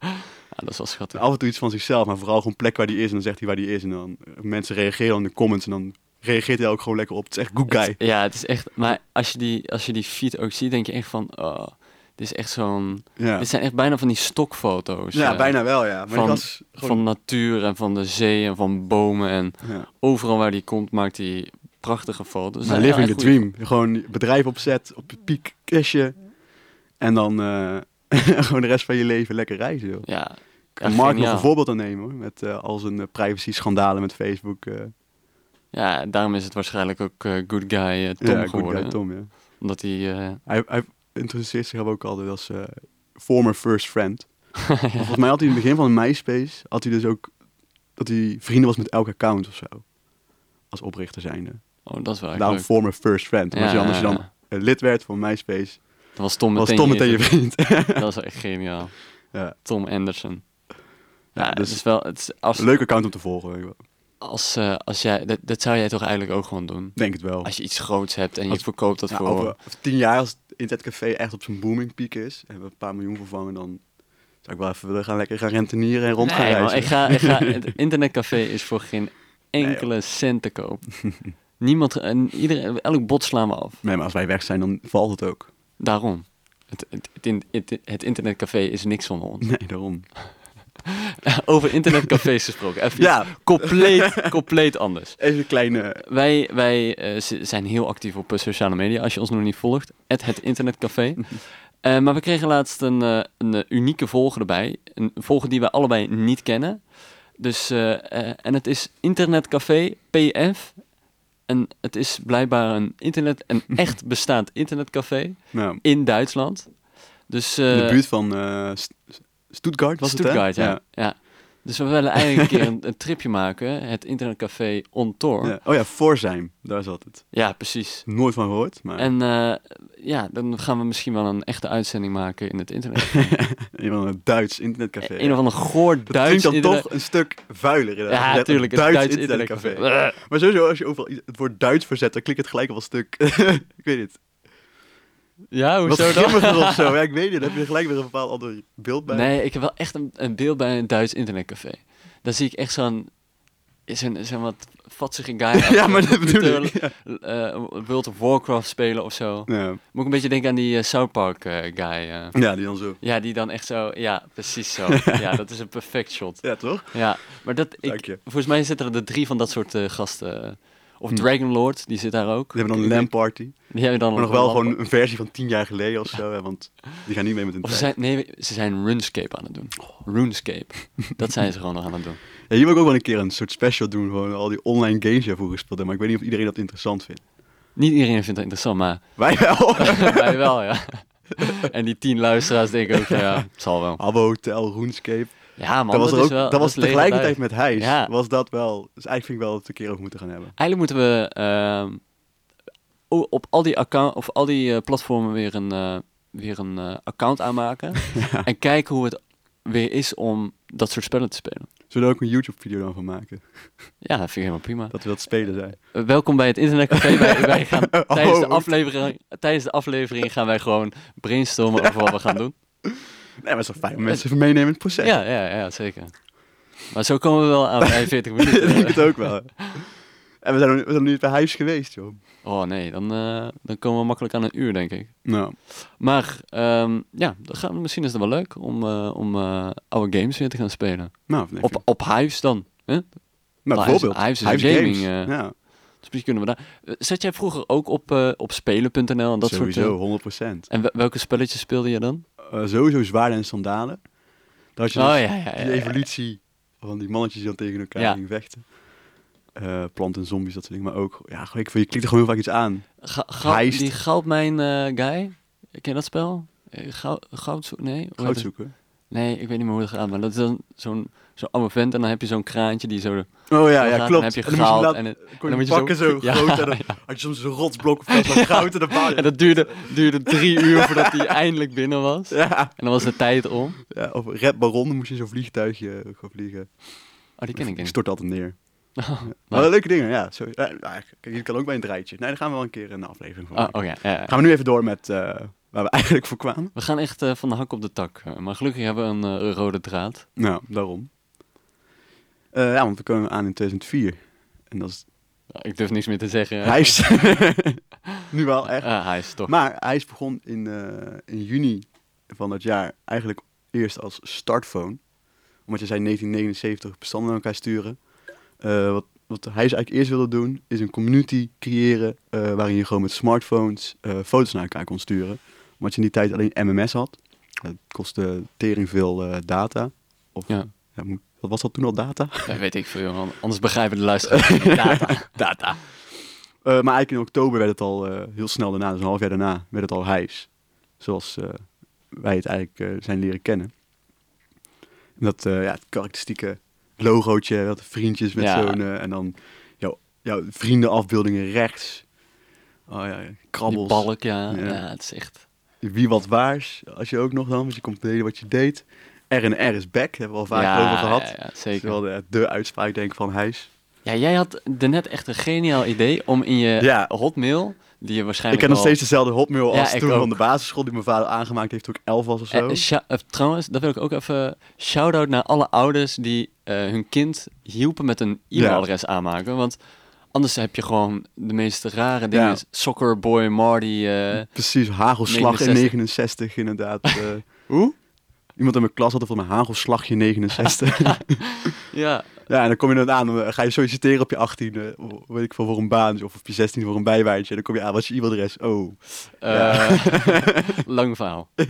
Ja, dat is wel schattig. af en toe iets van zichzelf, maar vooral gewoon plek waar die is. En dan zegt hij waar die is. En dan eh, mensen reageren dan in de comments. En dan reageert hij ook gewoon lekker op. Het is echt good guy. Het- ja, het is echt... Maar als je, die, als je die feed ook ziet, denk je echt van... Oh, dit is echt zo'n... Ja, Dit zijn echt bijna van die stokfoto's. ja eh, bijna wel, ja. Maar van- die was gewoon... Van natuur en van de zee en van bomen. En ja. overal waar die komt, maakt hij prachtige foto's. Dat Maar zijn living the echt goeie- dream. Gewoon bedrijf opzet, op de piek, cashje. En dan eh, gewoon de rest van je leven lekker reizen, joh. Ja. En ja, Mark nog geniaal. een voorbeeld aan nemen, hoor. Met eh, al zijn eh, privacy-schandalen met Facebook. eh Ja, daarom is het waarschijnlijk ook eh, Good Guy eh, Tom ja, good geworden. guy Tom, ja. Omdat hij... eh, Hij, hij interesseert zich ook altijd als eh, former first friend. Want Volgens mij had hij in het begin van MySpace, had hij dus ook dat hij vrienden was met elk account of zo. Als oprichter zijnde. oh, dat is wel echt Daarom leuk. former first friend. Want als je Ja, dan- als je dan ja, eh, lid werd van MySpace, Dat was Tom was meteen, Tom meteen je vriend. Dat is echt geniaal. Ja. Tom Anderson. Ja, Ja, het dus- is wel, het is als, Een Leuk account om te volgen, weet je wel. als, eh, als jij, dat, dat zou jij toch eigenlijk ook gewoon doen? denk het wel. Als je iets groots hebt en je Als- verkoopt dat Ja, voor... over, over tien jaar, als het internetcafé echt op zijn booming piek is, en we een paar miljoen vervangen, dan zou ik wel even willen gaan lekker gaan rentenieren en rond gaan nee, man, reizen. ik ga, ik ga, het internetcafé is voor geen enkele cent te koop. Niemand, en iedereen, elk bot slaan we af. Nee, maar als wij weg zijn, dan valt het ook. Daarom. Het, het, het, in- het, het internetcafé is niks zonder ons. Nee, daarom. Over internetcafés gesproken. Even ja. Ja, compleet, compleet anders. even een kleine... Wij, wij eh, z- zijn heel actief op eh, sociale media. Als je ons nog niet volgt, at het internetcafé. Eh, maar we kregen laatst een, eh, een eh, unieke volger erbij. Een volger die wij allebei niet kennen. Dus, eh, eh, en het is internetcafé PF. En het is blijkbaar een, internet, een echt bestaand internetcafé Nou, in Duitsland. Dus, in de eh, buurt van eh, St- Stuttgart was Stuttgart, het, hè? ja. ja. Dus we willen eigenlijk een keer een, een tripje maken, het internetcafé On Tour. Ja, Ja. Oh ja, Voorzijn, daar zat het. precies. Nooit van gehoord, maar En eh, ja, dan gaan we misschien wel een echte uitzending maken in het internet. in een Duits internetcafé. Een of ander dat goor klinkt Duits dan internet- toch een stuk vuiler. inderdaad. Ja, Net natuurlijk. Een Duits, internetcafé. internetcafé. Maar sowieso, als je overal iets- het woord Duits verzet, dan klinkt het gelijk al een stuk... ik weet niet. Eh, Wat Ja, hoezo dan? grimmiger of zo. Ja, ik weet niet. Dan heb je gelijk weer een bepaald ander beeld bij. Nee, ik heb wel echt een, een beeld bij een Duits internetcafé. Daar zie ik echt zo'n... Zo'n zo'n wat vatsige guy. ja, maar dat bedoel ik. Ja. eh, World of Warcraft spelen of zo. Ja. Moet ik een beetje denken aan die eh, South Park eh, guy. eh. Ja, die dan zo. Ja, die dan echt zo... Ja, precies zo. ja, dat is een perfect shot. Ja, toch? Ja, maar dat... Dank Ik, je. volgens mij zitten er de drie van dat soort eh, gasten. Of Hm. Dragon Lord, die zit daar ook. Die hebben dan een lamparty. Die hebben dan Maar nog wel een lamp- gewoon een versie van tien jaar geleden of zo. hè, Want die gaan niet mee met hun Of ze tijd. zijn, nee, ze zijn RuneScape aan het doen. Oh. RuneScape. Dat zijn ze gewoon nog aan het doen. Ja, hier wil ik ook wel een keer een soort special doen. Gewoon al die online games die vroeger gespeeld hebben. Maar ik weet niet of iedereen dat interessant vindt. Niet iedereen vindt dat interessant, maar Wij wel. wij wel, ja. En die tien luisteraars denken ook, van, ja, het zal wel. Habbo Hotel, RuneScape. Ja, man, dat was, er is ook, wel... dat was is legendarisch. tegelijkertijd met Hijs. Ja. Was dat wel. Dus eigenlijk vind ik wel dat we het een keer over moeten gaan hebben. Eigenlijk moeten we ehm, o- op al die, account, of al die eh, platformen weer een, eh, weer een eh, account aanmaken. En kijken hoe het weer is om dat soort spellen te spelen. Zullen we er ook een YouTube-video dan van maken? Ja, dat vind ik helemaal prima. Dat we dat spelen zijn. Eh, Welkom bij het internetcafé. wij, wij gaan tijdens, de Oh. aflevering, tijdens de aflevering gaan wij gewoon brainstormen over wat we gaan doen. Nee, maar het is wel fijn om mensen even meenemen in het proces. Ja, ja, ja, zeker. Maar zo komen we wel aan bij 40 Ik denk minuten. het ook wel. En we zijn, nog niet- we zijn nog niet bij Hijs geweest, joh. Oh nee, dan, eh, dan komen we makkelijk aan een uur, denk ik. Nou, Maar ehm, ja, dan gaan, misschien is het wel leuk om, eh, om eh, oude games weer te gaan spelen. nou, nee, Op, op Hives dan. Hè? nou, Hives- bijvoorbeeld. Hives is Hives gaming, Games. eh, ja, Dus misschien kunnen we daar... eh, Zat jij vroeger ook op, eh, op spelen.nl en dat soort... sowieso, eh, 100%. en wel- welke spelletjes speelde je dan? Eh, sowieso zwaarden en sandalen. Daar had je Oh ja, dus ja, ja. die ja. evolutie van die mannetjes die dan tegen elkaar Ja. gingen vechten. Eh planten en zombies, dat soort dingen. Maar ook, ja, gewoon, ik, vind- je klikt er gewoon heel vaak iets aan. Ga- Ga- Heist. die goudmijn eh, guy, ken je dat spel? Eh, Gou goud zoeken? Nee? hoe heet Goud het? zoeken. Nee, ik weet niet meer hoe het gaat, maar dat is dan zo'n zo'n oude vent en dan heb je zo'n kraantje die zo... de- Oh ja, Dan gaat- ja, dan klopt. heb je En dan moest gehaald laat- en het- kon dan je moet je pakken zo- zo, Ja, groot en dan had je soms een rotsblok of zo, goud in de baan. En dat duurde, duurde drie uur voordat hij eindelijk binnen was. Ja. En dan was de tijd om. ja, of Red Baron, dan moest je in zo'n vliegtuigje eh, gaan vliegen. Oh, die ken ik Oh, Ik niet. stort altijd neer. nice. Maar leuke dingen, ja. Sorry. Eh, nou, Kijk, je kan ook bij een draadje. Nee, daar gaan we wel een keer een aflevering van Oh, maken. oh ja, ja, ja. Gaan we nu even door met eh, waar we eigenlijk voor kwamen. We gaan echt eh, van de hak op de tak. eh, maar gelukkig hebben we een eh, rode draad. Nou, daarom. Eh, ja, want we komen aan in 2004. En dat is Nou, Ik durf niks meer te zeggen. hij is nu wel echt. Eh, hij is toch. Maar hij is begon in, eh, in juni van dat jaar eigenlijk eerst als startphone. Omdat je zei 1979 bestanden naar elkaar sturen. Eh, wat, wat hij is eigenlijk eerst wilde doen, is een community creëren eh, waarin je gewoon met smartphones eh, foto's naar elkaar kon sturen. Omdat je in die tijd alleen MMS had. Het kostte tering veel eh, data. Of, Ja. ja, moet- wat was dat toen al data? Dat weet ik veel, man. Anders begrijpen de luisteraars. Data. Data. Eh, maar eigenlijk in oktober werd het al eh, heel snel daarna, dus een half jaar daarna, werd het al hijs. Zoals eh, wij het eigenlijk eh, zijn leren kennen. En dat eh, ja, het karakteristieke logootje, dat vriendjes met Ja. zo'n... eh, en dan jouw, jouw vriendenafbeeldingen rechts. Oh ja, Die krabbels. balk, ja. Ja. ja. het is echt... Wie wat waars, als je ook nog dan, want je komt delen wat je deed. R en R is back, hebben we al vaak ja, over gehad. ja, Dat ja, is zeker. wel de, de uitspraak denk ik van hijs. Ja, jij had daarnet echt een geniaal idee om in je Ja. hotmail, die je Ik waarschijnlijk heb nog wel- steeds dezelfde hotmail Ja, als ik toen ook. van de basisschool die mijn vader aangemaakt heeft toen ik elf was of Eh, zo. eh, sha- eh, trouwens, dat wil ik ook even shout-out naar alle ouders die eh, hun kind hielpen met een e-mailadres aanmaken. Want anders heb je gewoon de meest rare dingen. Ja. Soccer Boy, Marty. eh, Precies, hagelslag in 69. 69 inderdaad. eh. Iemand in mijn klas had er van een hagelslagje 69. ja. ja, en dan kom je dan aan, dan ga je solliciteren op je 18 weet ik veel, voor een baan, of op je 16 voor een bijbaantje. En dan kom je aan, wat is je e-mailadres? Oh. eh, lang verhaal. Nee,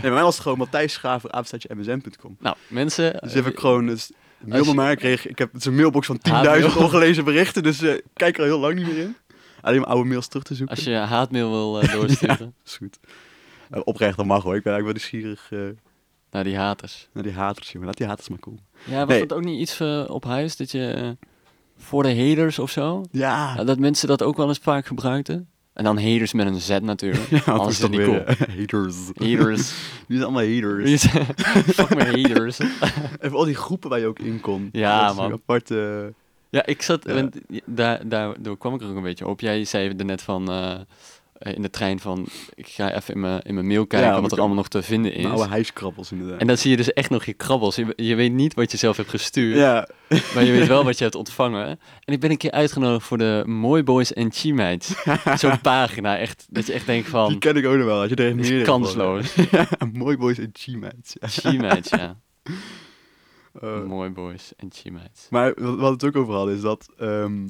bij mij was het gewoon Matthijs Schaver, apenstaartje msn.com. Nou, mensen. Dus heb ik gewoon, dus, mail me je- maar, ik kreeg, ik heb het is een mailbox van 10.000 Ah, mail. ongelezen berichten, dus eh, ik kijk er al heel lang niet meer in. Alleen mijn oude mails terug te zoeken. Als je haatmail wil eh, doorsturen. Is goed. Eh, oprecht, dat mag hoor. Ik ben eigenlijk wel nieuwsgierig eh, Naar die haters. Naar die haters, jongen. Laat die haters maar komen. Ja, was Nee. dat ook niet iets eh, op huis dat je eh, voor de haters of zo? Ja. Ja, dat mensen dat ook wel eens vaak gebruikten. En dan haters met een Z natuurlijk. Ja, Anders dat is is toch het niet weer cool. eh, haters. Haters. Die zijn allemaal haters. Fuck me haters. En voor al die groepen waar je ook in komt. Ja, Dat is man. een aparte... Ja, ik zat, Ja. want daar, daar, daar kwam ik er ook een beetje op. Jij zei er net van, eh, in de trein van, ik ga even in mijn, in mijn mail kijken Ja, wat er ik- Nou, allemaal nog te vinden is. eh, Oude hijskrabbels, inderdaad. En dan zie je dus echt nog je krabbels. Je, je weet niet wat je zelf hebt gestuurd, ja. maar je weet wel wat je hebt ontvangen. En ik ben een keer uitgenodigd voor de Mooi Boys en Chi-meids. Zo'n pagina, echt, dat je echt denkt Die van, ken ik ook nog wel. Als je er echt dit is meer kansloos. Mooi boys en G-meids. Ja. Chi-meids, ja. Eh, Mooi Boys en Chi-meids. Maar wat wat het ook over hadden is dat ehm,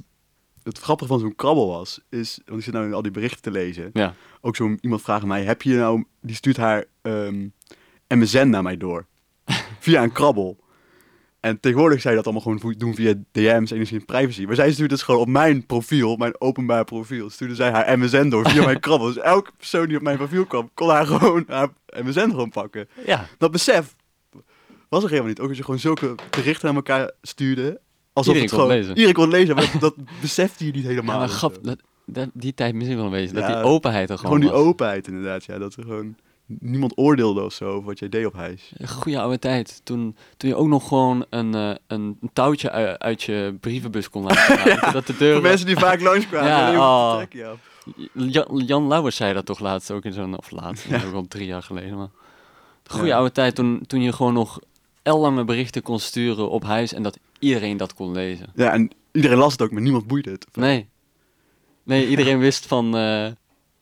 het grappige van zo'n krabbel was, is, want ik zit nou in al die berichten te lezen, Ja. ook zo'n iemand vraagt mij, heb je nou, die stuurt haar ehm, MSN naar mij door, via een krabbel. En tegenwoordig zou je dat allemaal gewoon vo- doen via DM's, enigszins privacy. Maar zij stuurt dus gewoon op mijn profiel, mijn openbaar profiel, stuurde zij haar MSN door via mijn krabbel. Dus elke persoon die op mijn profiel kwam, kon haar gewoon haar MSN gewoon pakken. Ja, Dat besef was er helemaal niet. Ook als je gewoon zulke berichten aan elkaar stuurde. Alsof Iedereen het kon gewoon, lezen. Iedereen kon lezen, maar dat, dat besefte je niet helemaal. maar of zo. grap, dat, dat- die tijd misschien wel wezen. Dat Ja, die openheid er gewoon gewoon die was. openheid inderdaad. Ja, dat er gewoon niemand oordeelde of zo over wat jij deed op huis. Goede oude tijd. Toen, toen je ook nog gewoon een, eh, een een touwtje u- uit je brievenbus kon laten gaan. dat de deur... Voor mensen die vaak langskwamen. Ja, ja, oh. oh. ja. Jan, Jan Lauwers zei dat toch laatst ook in zo'n... Of laatst, dat is ook al drie jaar geleden. Maar de goede Ja. oude tijd toen, toen je gewoon nog ellange berichten kon sturen op huis en dat iedereen dat kon lezen. ja, en iedereen las het ook, maar niemand boeide het. Nee. Nee, iedereen wist van... eh,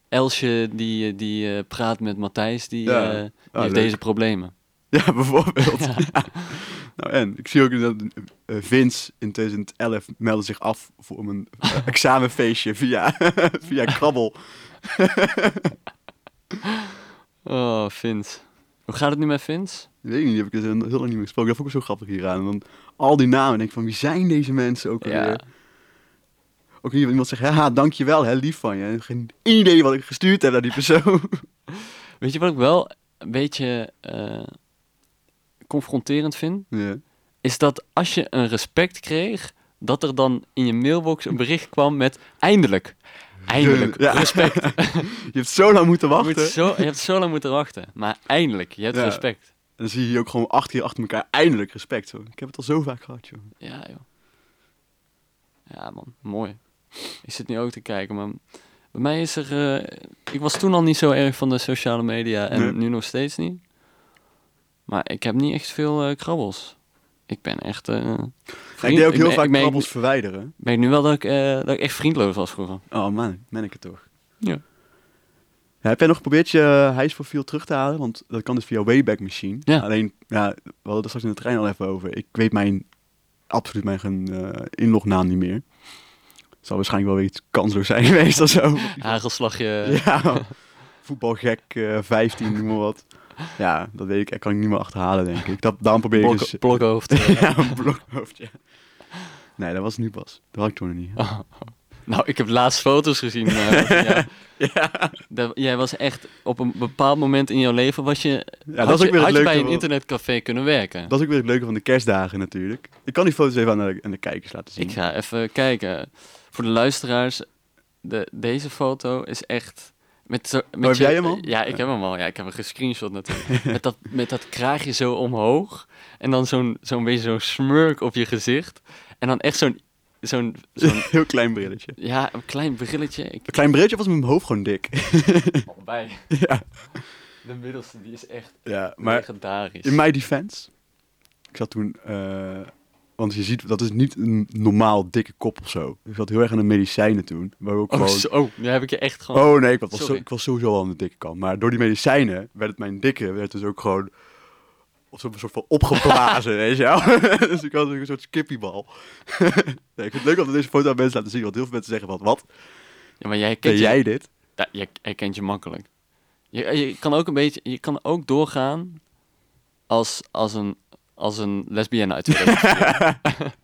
Elsje die, eh, die eh, praat met Matthijs, die, Ja. eh, die Ah, heeft leuk. deze problemen. Ja, bijvoorbeeld. Nou en, ik zie ook dat eh, Vince in 2011 meldde zich af voor een eh, examenfeestje via, via krabbel. Oh, Vince. Hoe gaat het nu met Vince? Weet ik niet, die heb ik dus heel, heel lang niet meer gesproken. Dat vond ik ook zo grappig hieraan. En dan al die namen, denk ik van wie zijn deze mensen ook alweer? Ja. Ook hier iemand zegt, haha, dankjewel, hè, lief van je. En Geen idee wat ik gestuurd heb naar die persoon. Weet je wat ik wel een beetje eh, confronterend vind? ja. Is dat als je een respect kreeg, dat er dan in je mailbox een bericht kwam met eindelijk. Eindelijk, Ja. respect. Je hebt zo lang moeten Je, wachten. moet zo, je hebt zo lang moeten wachten, maar eindelijk, je hebt Ja. respect. En dan zie je hier ook gewoon acht keer achter elkaar eindelijk respect. Zo. Ik heb het al zo vaak gehad, joh. Ja, joh. Ja, man, mooi. Ik zit nu ook te kijken, maar bij mij is er... eh, ik was toen al niet zo erg van de sociale media en Nee. nu nog steeds niet. Maar ik heb niet echt veel eh, krabbels. Ik ben echt... eh, ik vriend- deed ook heel ben- vaak ik ben- krabbels verwijderen. Ik weet nu wel dat ik, eh, dat ik echt vriendloos was vroeger. Oh man, ben ik het toch. Ja. Ja, heb jij nog geprobeerd je eh, hijsprofiel terug te halen? Want dat kan dus via Wayback Machine. Ja. Alleen, ja, we hadden het er straks in de trein al even over. Ik weet mijn, absoluut mijn eh, inlognaam niet meer. Zal waarschijnlijk wel weer iets kansloos zijn geweest of zo. Hagelslagje. eh, Ja, voetbalgek eh 15, noem maar wat. Ja, dat weet ik, dat kan ik niet meer achterhalen, denk ik. Dat, daarom probeer ik blok- dus... blokhoofd. ja, een blokhoofd, ja. Nee, dat was nu pas. Dat had ik toen nog niet. Oh. Nou, ik heb laatst foto's gezien. eh, van jou. Ja, Dat- jij was echt op een bepaald moment in jouw leven was je, ja had dat is ook je, weer had het je bij leuke een van- internetcafé kunnen werken. dat is ook weer het leuke van de kerstdagen natuurlijk. Ik kan die foto's even aan de, aan de kijkers laten zien. Ik ga even kijken. Voor de luisteraars, de, deze foto is echt... Met zo, met Oh, heb je- jij hem al? Ja, ik heb hem al. Ja, ik heb hem gescreenshot natuurlijk. met, dat, met dat kraagje zo omhoog. En dan zo'n zo'n beetje zo'n smurk op je gezicht. En dan echt zo'n... zo'n zo'n- Heel klein brilletje. ja, een klein brilletje. Ik Een klein brilletje was met mijn hoofd gewoon dik. allebei. De middelste, die is echt Ja, maar legendarisch. in mijn defense... Ik zat toen... eh, want je ziet, dat is niet een normaal dikke kop of zo. Ik zat heel erg aan de medicijnen toen. Waar ook Oh, gewoon... zo, oh, nu heb ik je echt gewoon... Oh nee, ik was, zo, Sorry. ik was sowieso al aan de dikke kant. Maar door die medicijnen werd het mijn dikke, werd dus ook gewoon op zo'n soort van opgeblazen, weet je wel. dus ik had ook een soort skippiebal. nee, ik vind het leuk om deze foto aan mensen laten zien, want heel veel mensen zeggen van, wat, Ja, maar jij herkent, ken je, jij dit? Ja, je herkent je makkelijk. Je, eh, je kan ook een beetje... Je kan ook doorgaan als, als, een, als een lesbienne uit 2004.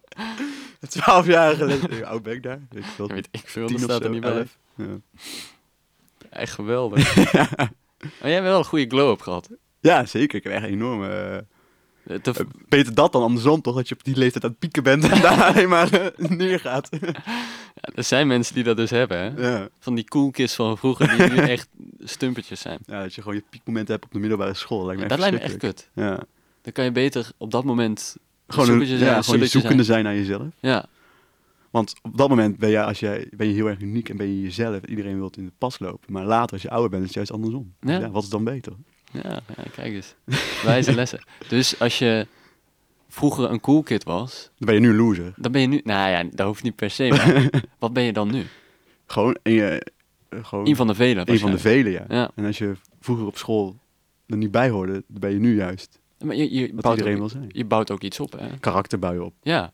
Twaalf jaar geleden, hoe oud ben ik daar? Weet ik veel, Ja, weet ik veel, tien dat of staat er zo, niet bij. elf. Ja. Echt geweldig. Maar jij hebt wel een goede glow-up gehad. Ja, zeker. Ik heb echt een enorme... eh, Het- de- eh, beter dat dan andersom toch, dat je op die leeftijd aan het pieken bent en daar alleen maar eh, neergaat. er zijn mensen die dat dus hebben, hè? ja. Van die cool kids van vroeger die nu echt stumpertjes zijn. ja, dat je gewoon je piekmomenten hebt op de middelbare school. Lijkt me dat lijkt me echt verschrikkelijk. kut. Ja. Dan kan je beter op dat moment Gewoon, een, zoekertje zijn, ja, gewoon je sulletjes zoekende zijn naar jezelf. zijn. Ja, Want op dat moment ben je, als jij, ben je heel erg uniek en ben je jezelf. Iedereen wilt in de pas lopen. Maar later, als je ouder bent, is het juist andersom. Ja. Ja. wat is dan beter? ja, ja, kijk eens. Wijze lessen. Dus als je vroeger een cool kid was, Dan ben je nu een loser. dan ben je nu... Nou ja, dat hoeft niet per se, maar wat ben je dan nu? Gewoon, en je, eh, gewoon Een van de velen. een van de waarschijnlijk. velen, ja. Ja. En als je vroeger op school er niet bij hoorde, dan ben je nu juist Maar je, je, wat bouwt iedereen ook, wil zijn. je bouwt ook iets op, hè? Karakterbuien op. Ja.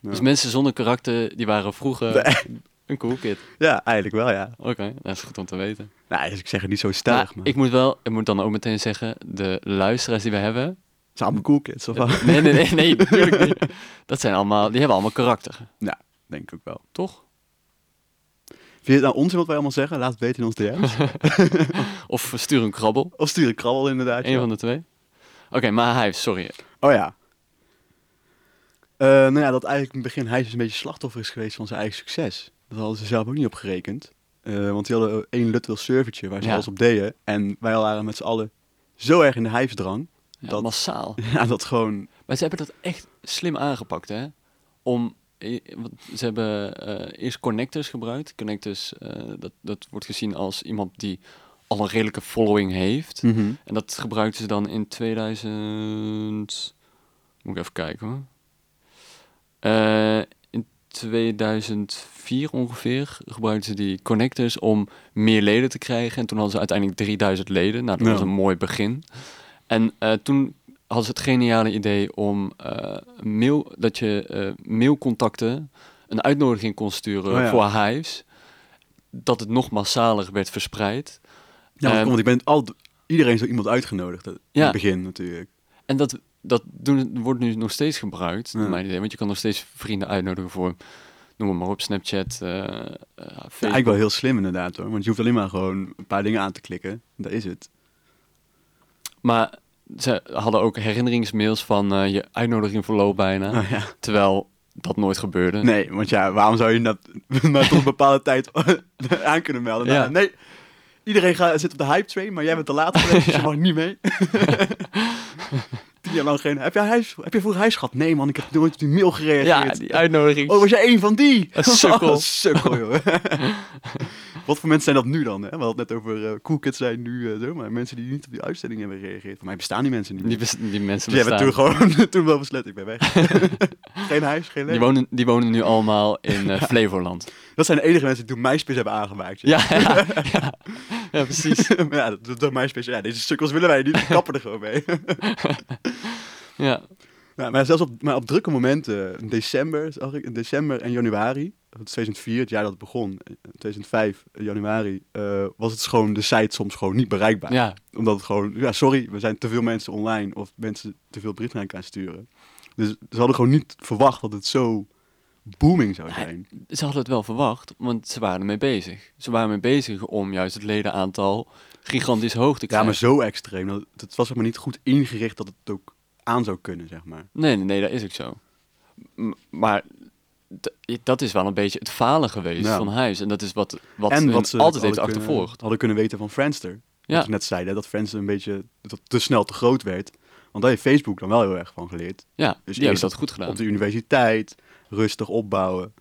Ja. Dus mensen zonder karakter, die waren vroeger een cool kid. Ja, eigenlijk wel, ja. Oké, dat is goed om te weten. Nou, dus ik zeg het niet zo stellig, maar... ik moet wel, ik moet dan ook meteen zeggen, de luisteraars die we hebben... Het zijn allemaal cool kids, of wat? Nee, nee, nee, nee, natuurlijk niet. Dat zijn allemaal, die hebben allemaal karakter, Denk ik ook wel. toch? Vind je het nou onzin wat wij allemaal zeggen? Laat het weten in ons DM's. Of stuur een krabbel, of stuur een krabbel, inderdaad. een ja. van de twee. Oké, maar hij, sorry. Oh ja. Eh, nou ja, dat eigenlijk in het begin hij dus een beetje slachtoffer is geweest van zijn eigen succes. Dat hadden ze zelf ook niet op gerekend. Eh, want die hadden één lutwil servertje waar ze Ja. alles op deden. En wij waren met z'n allen zo erg in de hijsdrang. Ja, Dat- Massaal. Ja, dat gewoon... Maar ze hebben dat echt slim aangepakt, hè? Om, eh, want ze hebben eh, eerst connectors gebruikt. Connectors, eh, dat, dat wordt gezien als iemand die al een redelijke following heeft. En dat gebruikten ze dan in 2000. Moet ik even kijken hoor. Eh, in 2004 ongeveer gebruikten ze die connectors om meer leden te krijgen. En toen hadden ze uiteindelijk 3000 leden. Nou, dat Ja. was een mooi begin. En eh, toen hadden ze het geniale idee om eh, mail, dat je eh, mailcontacten een uitnodiging kon sturen Oh ja. voor Hives. Dat het nog massaler werd verspreid. Ja, want, Ehm. want ik ben al, iedereen zo iemand uitgenodigd. eh, In Ja. het begin natuurlijk. En dat, dat doen, wordt nu nog steeds gebruikt, naar Ja. mijn idee. Want je kan nog steeds vrienden uitnodigen voor, noem het maar op, Snapchat, eh eh, Ja, Facebook. eigenlijk wel heel slim inderdaad hoor. Want je hoeft alleen maar gewoon een paar dingen aan te klikken. Dat is het. Maar ze hadden ook herinneringsmails van eh, je uitnodiging verloopt bijna. Oh ja. Terwijl dat nooit gebeurde. Nee, want ja, waarom zou je dat maar tot een bepaalde tijd aan kunnen melden? Nou, Ja. Nee, iedereen gaat, zit op de hype train, maar jij bent te laat geweest, dus je mag niet mee. Tien jaar lang geen... Heb jij, huis, heb jij vroeger huis gehad? Nee man, ik heb nooit op die mail ja, gereageerd. die uitnodiging. Oh, was jij een van die? Een sukkel. Oh, sukkel, joh. Wat voor mensen zijn dat nu dan? Hè? We hadden het net over eh cool kids zijn nu, eh zo, maar mensen die niet op die uitzending hebben gereageerd. Voor mij bestaan die mensen niet die, meer. bes- die mensen Die hebben bestaan. toen gewoon toen wel besloten, ik ben weg. geen huis, geen Die leven. wonen, die wonen nu allemaal in eh, Flevoland. Dat zijn de enige mensen die toen MySpace hebben aangemaakt. Ja, ja, ja. Ja, precies. maar ja, dat, dat MySpace, ja, deze sukkels willen wij niet, die kappen er gewoon mee. Ja, Ja, maar zelfs op, maar op drukke momenten, in december zag ik, in december en januari, dat is 2004, het jaar dat het begon, eh, 2005, eh, januari, eh, was het gewoon de site soms gewoon niet bereikbaar. ja. Omdat het gewoon, ja sorry, we zijn te veel mensen online of mensen te veel brieven naar elkaar sturen. Dus ze hadden gewoon niet verwacht dat het zo booming zou Nee. zijn. ze hadden het wel verwacht, want ze waren ermee bezig. Ze waren mee bezig om juist het ledenaantal gigantisch hoog te Ja, krijgen. maar zo extreem. Dat, het was zeg maar niet goed ingericht dat het ook aan zou kunnen, zeg maar. Nee, nee, nee, dat is ook zo. M- maar d- dat is wel een beetje het falen geweest Ja. van huis. En dat is wat, wat, en hun wat ze altijd heeft hadden kunnen- achtervolgd. hadden kunnen weten van Friendster. Ja. Wat we net zeiden, dat Friendster een beetje dat te snel te groot werd. Want daar heeft Facebook dan wel heel erg van geleerd. Ja, Dus die hebben eerst dat goed gedaan. Op de universiteit, rustig opbouwen.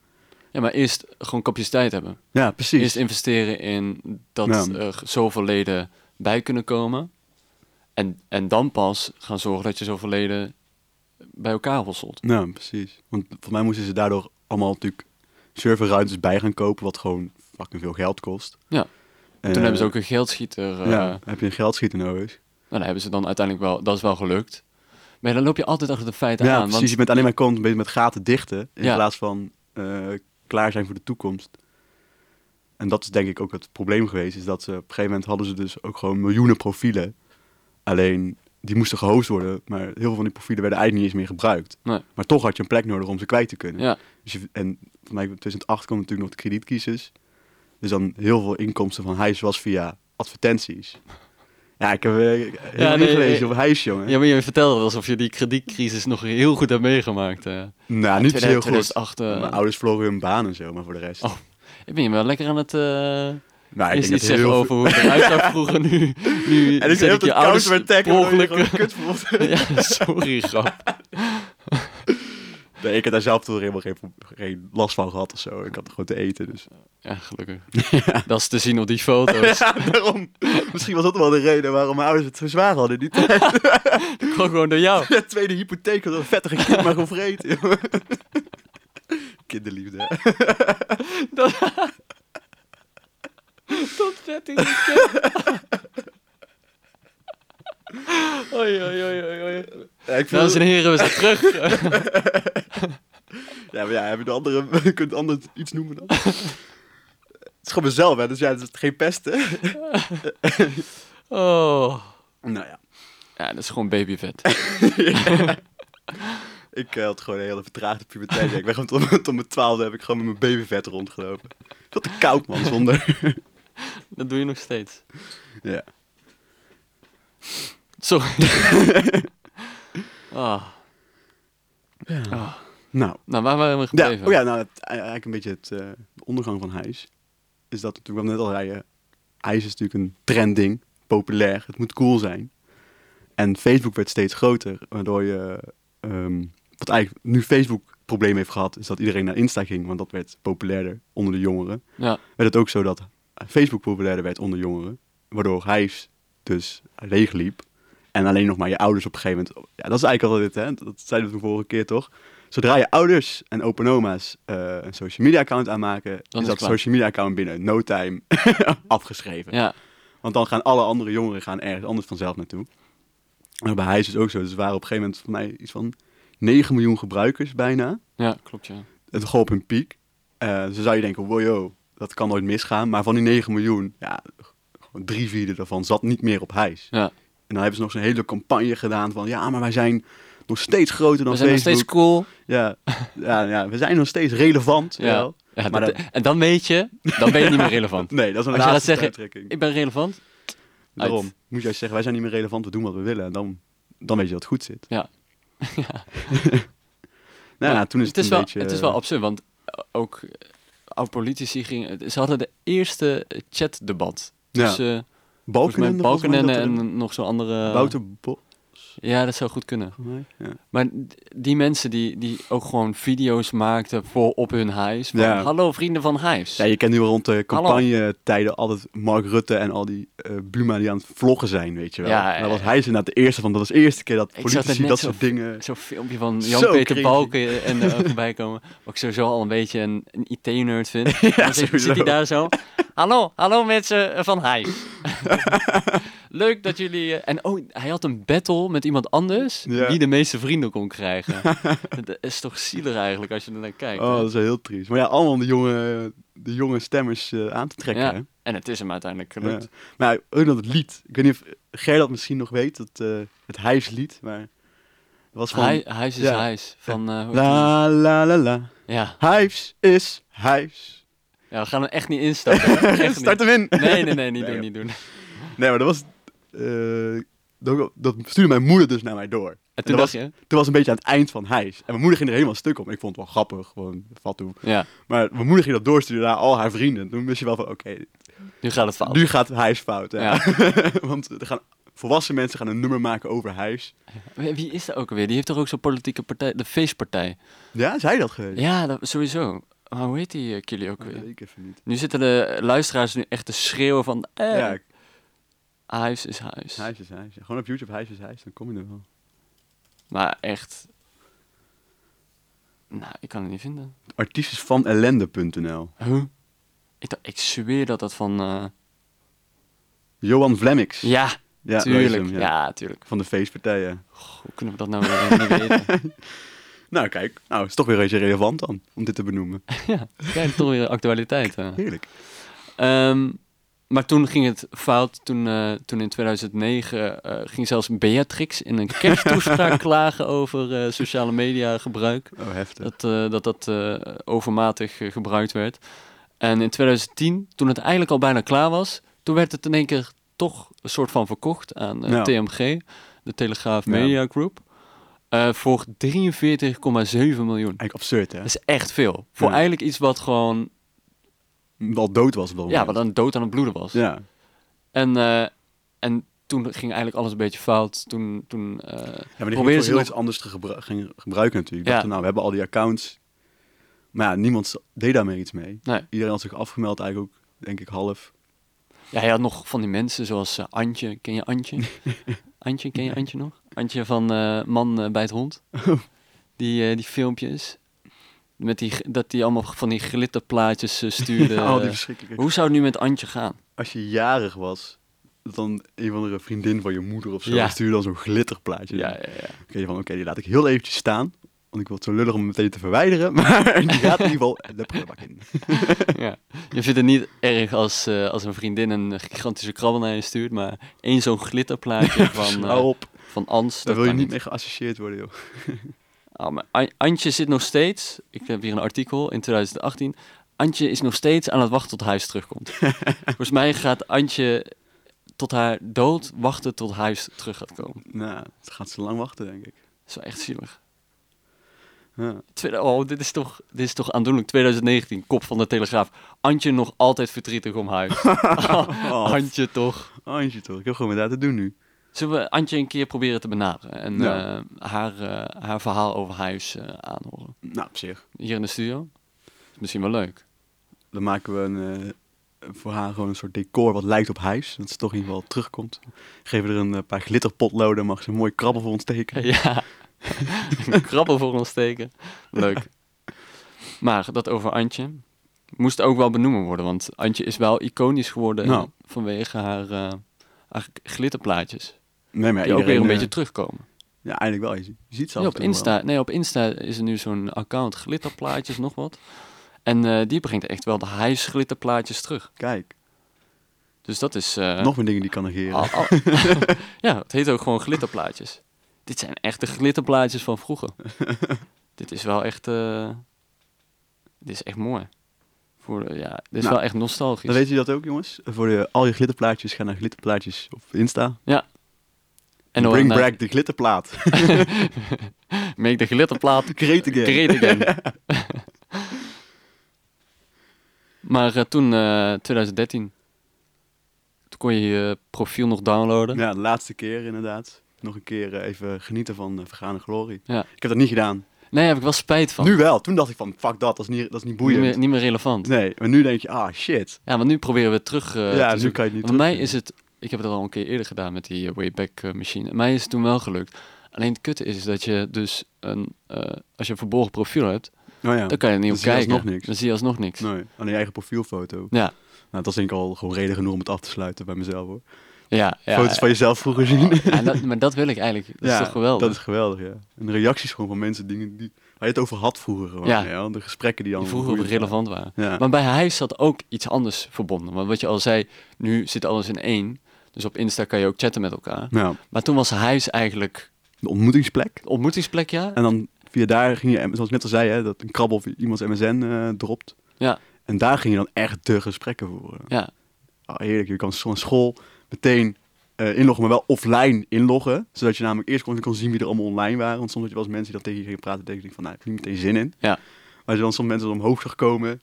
Ja, maar eerst gewoon capaciteit hebben. Ja, precies. Eerst investeren in dat Ja. er zoveel leden bij kunnen komen. En, en dan pas gaan zorgen dat je zoveel leden bij elkaar hosselt. Nou, precies. Want voor mij moesten ze daardoor allemaal natuurlijk serverruimtes bij gaan kopen, wat gewoon fucking veel geld kost. Ja. En Toen hebben ze ook een geldschieter eh, Eh, Ja, heb je een geldschieter nodig. Nou, daar hebben ze dan uiteindelijk wel, dat is wel gelukt. Maar ja, dan loop je altijd achter de feiten ja, aan. precies. Dus Je bent alleen maar constant bezig met gaten dichten. In Ja. plaats van eh, klaar zijn voor de toekomst. En dat is denk ik ook het probleem geweest. Is dat ze op een gegeven moment hadden ze dus ook gewoon miljoenen profielen. Alleen die moesten gehost worden. Maar heel veel van die profielen werden eigenlijk niet eens meer gebruikt. Nee. Maar toch had je een plek nodig om ze kwijt te kunnen. Ja, Dus je- en voor mij in 2008 kwam natuurlijk nog de kredietkiezers. Dus dan heel veel inkomsten van huis was via advertenties. Ja, ik heb eh, ik- Ja, helemaal niet nee, gelezen nee. op huis, jongen. Ja, maar je vertelde alsof je die kredietcrisis nog heel goed hebt meegemaakt. eh. Nou, niet zo heel goed. 2008, eh, Mijn ouders verloren hun baan en zo, maar voor de rest. Oh, ik ben je wel lekker aan het... eh nou, eerst dat iets zeggen heel over hoe het eruit zag vroeger. Nu, nu En ik zet heb ik dat ouders je ouders weer per tackelen. omdat je ongeluk- gewoon kut voelt. Ja, sorry, grap. Nee, ik heb daar zelf toch helemaal geen, geen last van gehad of zo. Ik had gewoon te eten, dus... Ja, gelukkig. Dat is te zien op die foto's. Ja, daarom. Misschien was dat wel de reden waarom mijn ouders het zo zwaar hadden. Die tijd. Ik kwam gewoon door jou. De tweede hypotheek had een vettige kind maar gevreten. jongen. Kinderliefde. Tot vet in de kip. Oei, oei, oei, oei, oei. Ja, ik vind Dames Nou, dat- en heren, we zijn terug. ja, maar ja, heb je de andere, je kunt anders iets noemen dan. Het is gewoon mezelf, hè, dus ja, het is geen pesten. Oh. Nou ja, Ja, dat is gewoon babyvet. ik eh, had gewoon een hele vertraagde puberteit. Ja, Ik ben gewoon tot, mijn- tot mijn twaalfde heb ik gewoon met mijn babyvet rondgelopen. Tot de koud, man, zonder. Dat doe je nog steeds. Ja. Sorry. Ah. Ah. Nou, Nou, waar waren we gebleven? ja, oh ja, nou, het, eigenlijk een beetje het eh, de ondergang van hijs. Is dat natuurlijk, wat net al zei, eh, hijs is natuurlijk een trending, populair, het moet cool zijn. En Facebook werd steeds groter, waardoor je, ehm, wat eigenlijk nu Facebook het probleem heeft gehad, is dat iedereen naar Insta ging, want dat werd populairder onder de jongeren. Ja. Werd het ook zo dat Facebook populairder werd onder jongeren, waardoor hijs dus leeg liep. En alleen nog maar je ouders op een gegeven moment. Ja, dat is eigenlijk altijd dit, hè? Dat zeiden we de vorige keer toch? Zodra je ouders en open oma's eh, een social media account aanmaken, Dan is is dat het klaar. social media account binnen no time afgeschreven. Ja. Want dan gaan alle andere jongeren gaan ergens anders vanzelf naartoe. En bij Hijs is het ook zo. Dus er waren op een gegeven moment voor mij iets van 9 miljoen gebruikers bijna. ja, klopt ja. Het gewoon op hun piek. Eh dus dan zou je denken, wow, yo, dat kan nooit misgaan. Maar van die 9 miljoen, ja, gewoon drie vierde daarvan zat niet meer op Hijs. ja. En dan hebben ze nog zo'n hele campagne gedaan van... ja, maar wij zijn nog steeds groter dan We zijn nog Facebook. steeds cool. ja, ja, ja, we zijn nog steeds relevant. Ja. wel. Ja, Maar dat- En dan weet je, dan ben je niet meer relevant. Nee, dat is een Als je gaat laatste zeggen, uittrekking. ik ben relevant. Daarom moet jij zeggen, wij zijn niet meer relevant, we doen wat we willen. En dan, dan weet je dat het goed zit. Ja. Nou, Maar ja, toen is het, is een wel, beetje... eh, Het is wel absurd, want ook eh, oud-politici gingen... Ze hadden de eerste eh, chatdebat. Ja. Dus eh volgens mij Balkenende, volgens mij Balkenende dat er- en eh, nog zo'n andere... Wouter Bos, Ja, dat zou goed kunnen. volgens mij. Ja. Maar d- die mensen die, die ook gewoon video's maakten voor op hun huis. Van, Ja. Hallo vrienden van huis. Ja, je kent nu rond de campagnetijden altijd Mark Rutte en al die eh, Buma die aan het vloggen zijn, weet je wel. Ja, Maar dat was eh, hij is inderdaad de eerste van, dat was de eerste keer dat Ik zag dat politici net dat zo- soort dingen... Zo'n filmpje van Zo Jan-Peter cringy. Balken en eh, voorbij komen. Wat ik sowieso al een beetje een, een IT-nerd vind. En dan zit, sowieso. zit hij daar zo. Hallo, hallo mensen eh, van Hijs. Leuk dat jullie... eh, en oh, hij had een battle met iemand anders... Ja. die de meeste vrienden kon krijgen. dat is toch zielig eigenlijk als je er naar kijkt. Oh, hè? dat is wel heel triest. Maar ja, allemaal om de jonge, de jonge stemmers eh, aan te trekken. Ja. hè? En het is hem uiteindelijk Ja. gelukt. Maar ja, ook dat het lied. Ik weet niet of Ger dat misschien nog weet, het, eh het hijslied. Maar het was van... Hij, huis is Ja. huis. Van, eh, hoe heet die? La la la la. ja. Hijs is hijs. ja, we gaan er echt niet instarten. Echt Start hem in. niet. Nee, nee, nee, niet Nee, joh. doen, niet doen. Nee, maar dat was... eh, dat, dat stuurde mijn moeder dus naar mij door. En dat toen was- dacht je... Toen was het een beetje aan het eind van hijs. En mijn moeder ging er helemaal stuk om. Ik vond het wel grappig, gewoon fatsoen. Ja, Maar mijn moeder ging dat doorsturen naar al haar vrienden. Toen wist je wel van, oké, nu gaat het fout. Nu gaat hijs fout. Ja. Ja. Want er gaan, volwassen mensen gaan een nummer maken over hijs. Wie wie is dat ook alweer? Die heeft toch ook zo'n politieke partij, de feestpartij? Ja, zei dat geweest? Ja, dat, sowieso. Maar hoe heet die eh, Kili ook Dat weet weer? ik even niet. Nu zitten de luisteraars nu echt te schreeuwen van... Eh, Ja, Huis is huis. hijs is hijs. Gewoon op YouTube hijs is hijs, dan kom je er wel. Maar echt... Nou, ik kan het niet vinden. Artiestesvanellende.nl Huh? Ik, dacht- ik zweer dat dat van... eh, Johan Vlemmix. Ja, Ja, dat is tuurlijk. hem, ja. ja. tuurlijk. Van de feestpartijen. Goh, hoe kunnen we dat nou eh, niet weten? Nou, kijk. Nou, is toch weer een beetje relevant dan, om dit te benoemen. ja, kijk, toch weer actualiteit. eh. Heerlijk. Ehm, maar toen ging het fout. Toen, eh, toen in 2009 eh, ging zelfs Beatrix in een kersttoespraak klagen over eh, sociale media gebruik. Oh, heftig. Dat eh, dat, dat eh, overmatig eh, gebruikt werd. En in 2010, toen het eigenlijk al bijna klaar was, toen werd het in één keer toch een soort van verkocht aan eh, Ja. TMG, de Telegraaf Ja. Media Group, eh, voor 43,7 miljoen. Eigenlijk absurd, hè? Dat is echt veel. Voor Ja. eigenlijk iets wat gewoon, Al dood was op dat ja, moment. wat dan dood aan het bloeden was. Ja. En, eh, en toen ging eigenlijk alles een beetje fout. Toen, toen eh, Ja, maar die gingen Probeer ze voor heel nog- iets anders te gebru- gingen gebruiken natuurlijk. Ja. Dachten, nou, we hebben al die accounts. Maar ja, niemand deed daarmee iets mee. Nee. Iedereen had zich afgemeld eigenlijk ook, denk ik, half. ja, hij had nog van die mensen zoals eh, Antje. Ken je Antje? Antje, ken je Antje nog? Antje van eh, Man eh, bij het Hond. Oh. Die, eh, die filmpjes. Met die, g- dat die allemaal van die glitterplaatjes eh, stuurde. al die Eh, verschrikkelijke... Hoe zou het nu met Antje gaan? Als je jarig was, dat dan een van de vriendin van je moeder of zo Ja. stuurde dan zo'n glitterplaatje. Ja, Dan ja, ja. denk je van, oké, die laat ik heel eventjes staan. Want ik wil het zo lullig om hem meteen te verwijderen. Maar die gaat in ieder geval de prullenbak in. ja. Je vindt het niet erg als, eh, als een vriendin een gigantische krabbel naar je stuurt, maar één zo'n glitterplaatje van, eh Hou op, van Ans. daar dat wil je kan niet mee geassocieerd worden, joh. Ah, maar An- Antje zit nog steeds, ik heb hier een artikel in 2018. Antje is nog steeds aan het wachten tot huis terugkomt. Volgens mij gaat Antje tot haar dood wachten tot huis terug gaat komen. Nou, het gaat ze lang wachten, denk ik. Dat is wel echt zielig. Ja. Tweede- oh, dit is, toch, dit is toch aandoenlijk. 2019, kop van de Telegraaf. Antje nog altijd verdrietig om huis. Antje toch. Antje Oh, toch, ik heb gewoon met haar te doen nu. Zullen we Antje een keer proberen te benaderen? En Ja. eh, haar, eh, haar verhaal over huis eh, aanhoren. Nou, op zich. Hier in de studio. Is misschien wel leuk. Dan maken we een, eh, voor haar gewoon een soort decor wat lijkt op huis. Dat ze toch in ieder geval terugkomt. Geven we er een eh, paar glitterpotloden. Mag ze een mooi krabbel voor ons tekenen. Ja, een krabbel voor ons steken. Leuk. Maar dat over Antje moest ook wel benoemen worden, want Antje is wel iconisch geworden Nou. vanwege haar, eh, haar glitterplaatjes. Nee, maar Die ook weer een eh, beetje terugkomen. Ja, eigenlijk wel. Je, je ziet ze af Ja, en op, toe wel. Insta, nee, op Insta is er nu zo'n account glitterplaatjes, nog wat. En eh, die brengt echt wel de huis glitterplaatjes terug. Kijk, Dus dat is... eh, nog meer dingen die ik kan negeren. al- al- oh. ja, het heet ook gewoon glitterplaatjes. Dit zijn echt de glitterplaatjes van vroeger. dit is wel echt... eh, dit is echt mooi. Voor, de- ja, dit is Nou, wel echt nostalgisch. Dan weet je dat ook, jongens. Voor de, al je glitterplaatjes, ga naar glitterplaatjes op Insta. en dan Bring eh, back de glitterplaat. make de glitterplaat Great again. great again. maar eh, toen, eh, 2013, toen kon je je profiel nog downloaden. Ja, de laatste keer inderdaad. Nog een keer eh, even genieten van eh, vergane glorie. Ja. Ik heb dat niet gedaan. Nee, heb ik wel spijt van. Nu wel. Toen dacht ik van, fuck dat, dat is niet, dat is niet niet, boeiend. meer, niet meer relevant. Nee, maar nu denk je, ah shit. Ja, want nu proberen we het terug eh, ja, te nu zoeken. kan je het niet Bij mij terugvinden. is het, ik heb het al een keer eerder gedaan met die eh, Wayback eh, Machine. Mij is het toen wel gelukt. Alleen het kutte is dat je dus een, eh, als je een verborgen profiel hebt, Nou ja. dan kan je er niet Dan op zie je kijken. alsnog niks. Dan zie je alsnog niks. Nee, aan je eigen profielfoto. Ja, Nou, dat is denk ik al gewoon reden genoeg om het af te sluiten bij mezelf hoor. ja, ja. Foto's van jezelf vroeger zien. En dat, maar dat wil ik eigenlijk. Dat ja, is toch geweldig. Dat is geweldig, ja. En de reacties gewoon van mensen die, die, waar je het over had vroeger gewoon. Ja. Ja. De gesprekken die dan... die vroeger boeiend waren. relevant waren. Ja. Maar bij hij zat ook iets anders verbonden. Want wat je al zei, nu zit alles in één. Dus op Insta kan je ook chatten met elkaar. Nou, Maar toen was huis eigenlijk de ontmoetingsplek. de ontmoetingsplek, ja. En dan via daar ging je, zoals ik net al zei, hè, dat een krabbel of iemands MSN eh, dropt. Ja. En daar ging je dan echt de gesprekken voeren. Ja, Ah, heerlijk, je kan van school meteen eh, inloggen, maar wel offline inloggen. Zodat je namelijk eerst kon, kon zien wie er allemaal online waren. Want soms had je wel eens mensen die dan tegen je gingen praten. denk ik van, nou, ik heb niet meteen zin in. Ja. Maar als je dan soms mensen dan omhoog zag komen.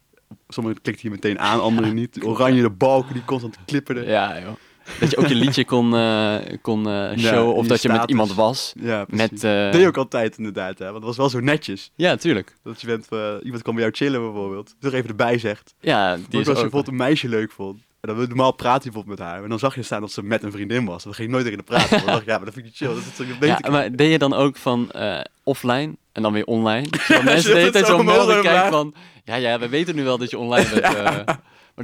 Sommigen klikten hier meteen aan, anderen niet. Oranje de balken die constant klipperden. Ja, Ja, joh. Dat je ook je liedje kon, eh, kon eh, showen of je dat je met status. iemand was. precies. Met, eh, Dat deed je ook altijd inderdaad, hè? want het was wel zo netjes. Ja, tuurlijk. Dat je bent, eh, iemand kwam bij jou chillen bijvoorbeeld. Toch even erbij zegt. Ja, Die die ook is als je ook... bijvoorbeeld een meisje leuk vond. En dan wil je normaal praat je bijvoorbeeld met haar. En dan zag je staan dat ze met een vriendin was. Dan ging je nooit tegen haar praten. Dan dacht ik, ja, maar dat vind ik niet chill. Dat is natuurlijk beter. Ja, maar deed je dan ook van eh, offline en dan weer online? Dat mensen de hele het tijd zo zo'n omhoog melden kijken omlaag. van... Ja, ja, we weten nu wel dat je online bent. eh. maar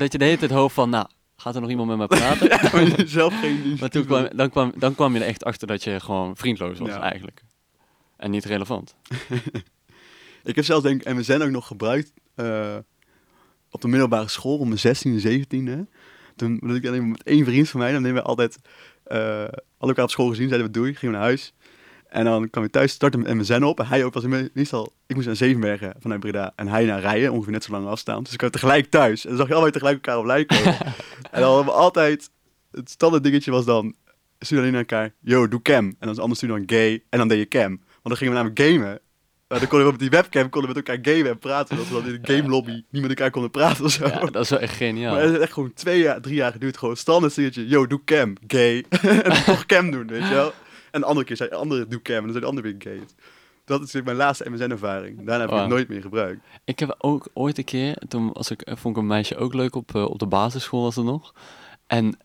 dat je de hele tijd hoopt van... Nou, gaat er nog iemand met me praten? maar zelf geen maar toen kwam, dan, kwam, dan kwam je er echt achter dat je gewoon vriendloos was Ja. eigenlijk. eigenlijk. En niet relevant. Ik heb zelfs denk ik MSN ook nog gebruikt eh, op de middelbare school om mijn 16 en 17e. Toen was ik alleen maar met één vriend van mij. Dan deden we altijd, eh hadden elkaar op school gezien, zeiden we doei, gingen we naar huis. En dan kwam ik thuis, startte mijn MSN op. En hij ook was in- meestal, ik moest naar Zevenbergen vanuit Breda. En hij naar Rijen, ongeveer net zo lang afstand. Dus ik kwam tegelijk thuis. En dan zag je allebei tegelijk elkaar op lijn komen. en dan hadden we altijd het standaard dingetje was dan, stuur alleen naar elkaar, yo, doe cam. En als anders stuur dan gay, en dan deed je cam. Want dan gingen we namelijk gamen. Maar dan konden we met die webcam konden we met elkaar gamen en praten. Dat we dan in de game lobby niet met elkaar konden praten of zo. Ja, dat is wel Maar echt het geniaal. heeft echt gewoon twee jaar, drie jaar geduurd. Gewoon standaard dingetje, yo, doe cam, gay. en dan toch cam doen, weet je wel. En de andere keer zei de andere, doe cam, en dan zei de andere weer gay. Dat is mijn laatste MSN-ervaring. Daarna heb ik Wow. het nooit meer gebruikt. Ik heb ook ooit een keer, toen was ik, eh, vond ik een meisje ook leuk op, eh, op de basisschool was het nog. En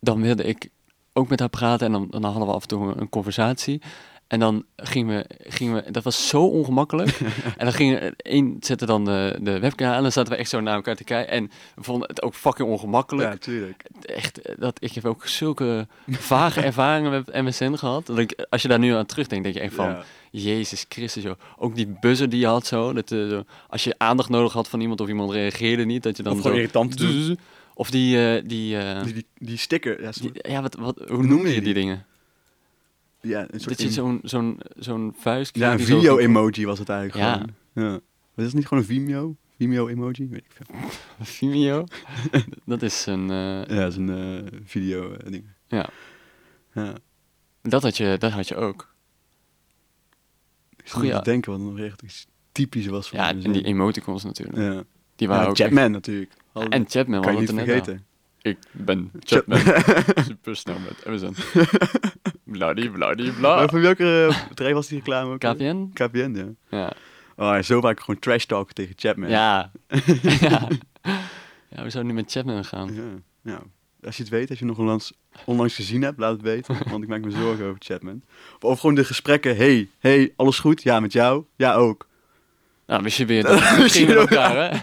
dan wilde ik ook met haar praten en dan, dan hadden we af en toe een, een conversatie. En dan gingen we, gingen we, dat was zo ongemakkelijk. en dan gingen, één zette dan de, de webcam aan en dan zaten we echt zo naar elkaar te kijken. En we vonden het ook fucking ongemakkelijk. Ja, tuurlijk. echt, eh, dat, ik heb ook zulke vage ervaringen met MSN gehad. Dat ik, als je daar nu aan terugdenkt, denk je echt van, Ja. Jezus Christus, joh. Ook die buzzer die je had zo, dat, eh, zo, als je aandacht nodig had van iemand of iemand reageerde niet, dat je dan Of gewoon zo- irritant te doen. Of die, eh, die, eh, Die, die, die sticker, ja, zo- die- ja, wat, wat, hoe noem je die dingen? ja, een soort Dat je in- zo'n zo'n zo'n vuist... Ja, een die zo- video-emoji was het eigenlijk Ja. gewoon. Ja. Maar is het niet gewoon een Vimeo? Vimeo-emoji? Weet ik veel. Vimeo. dat is een... eh, Ja, dat is een eh, video eh, ding. ja, Ja. dat had je, dat had je ook. Ik zat even ja. te denken wat nog echt iets typisch was van Ja, de en zin. die emoticons natuurlijk. ja. Die Ja, waren ook... echt- Chapman natuurlijk. Hadden- En Chapman, we kan je hadden niet het er net nou? over. vergeten. Ik ben Chapman. Super snel met Amazon. Bloody, bloody, Maar bla. van welke eh, bedrijf was die reclame ook? weer? KPN? KPN, ja. Ja. Oh, en zo vaak gewoon trash talken tegen Chapman. Ja. ja. Ja, we zouden nu met Chapman gaan. Ja. Nou, als je het weet, als je nog onlangs, onlangs gezien hebt, laat het weten. Want ik maak me zorgen over Chapman. Of, of gewoon de gesprekken. Hey, hey, alles goed? Ja, met jou? Ja, ook. Nou, wist je weer dat we Wist je gingen met weer- elkaar, hè?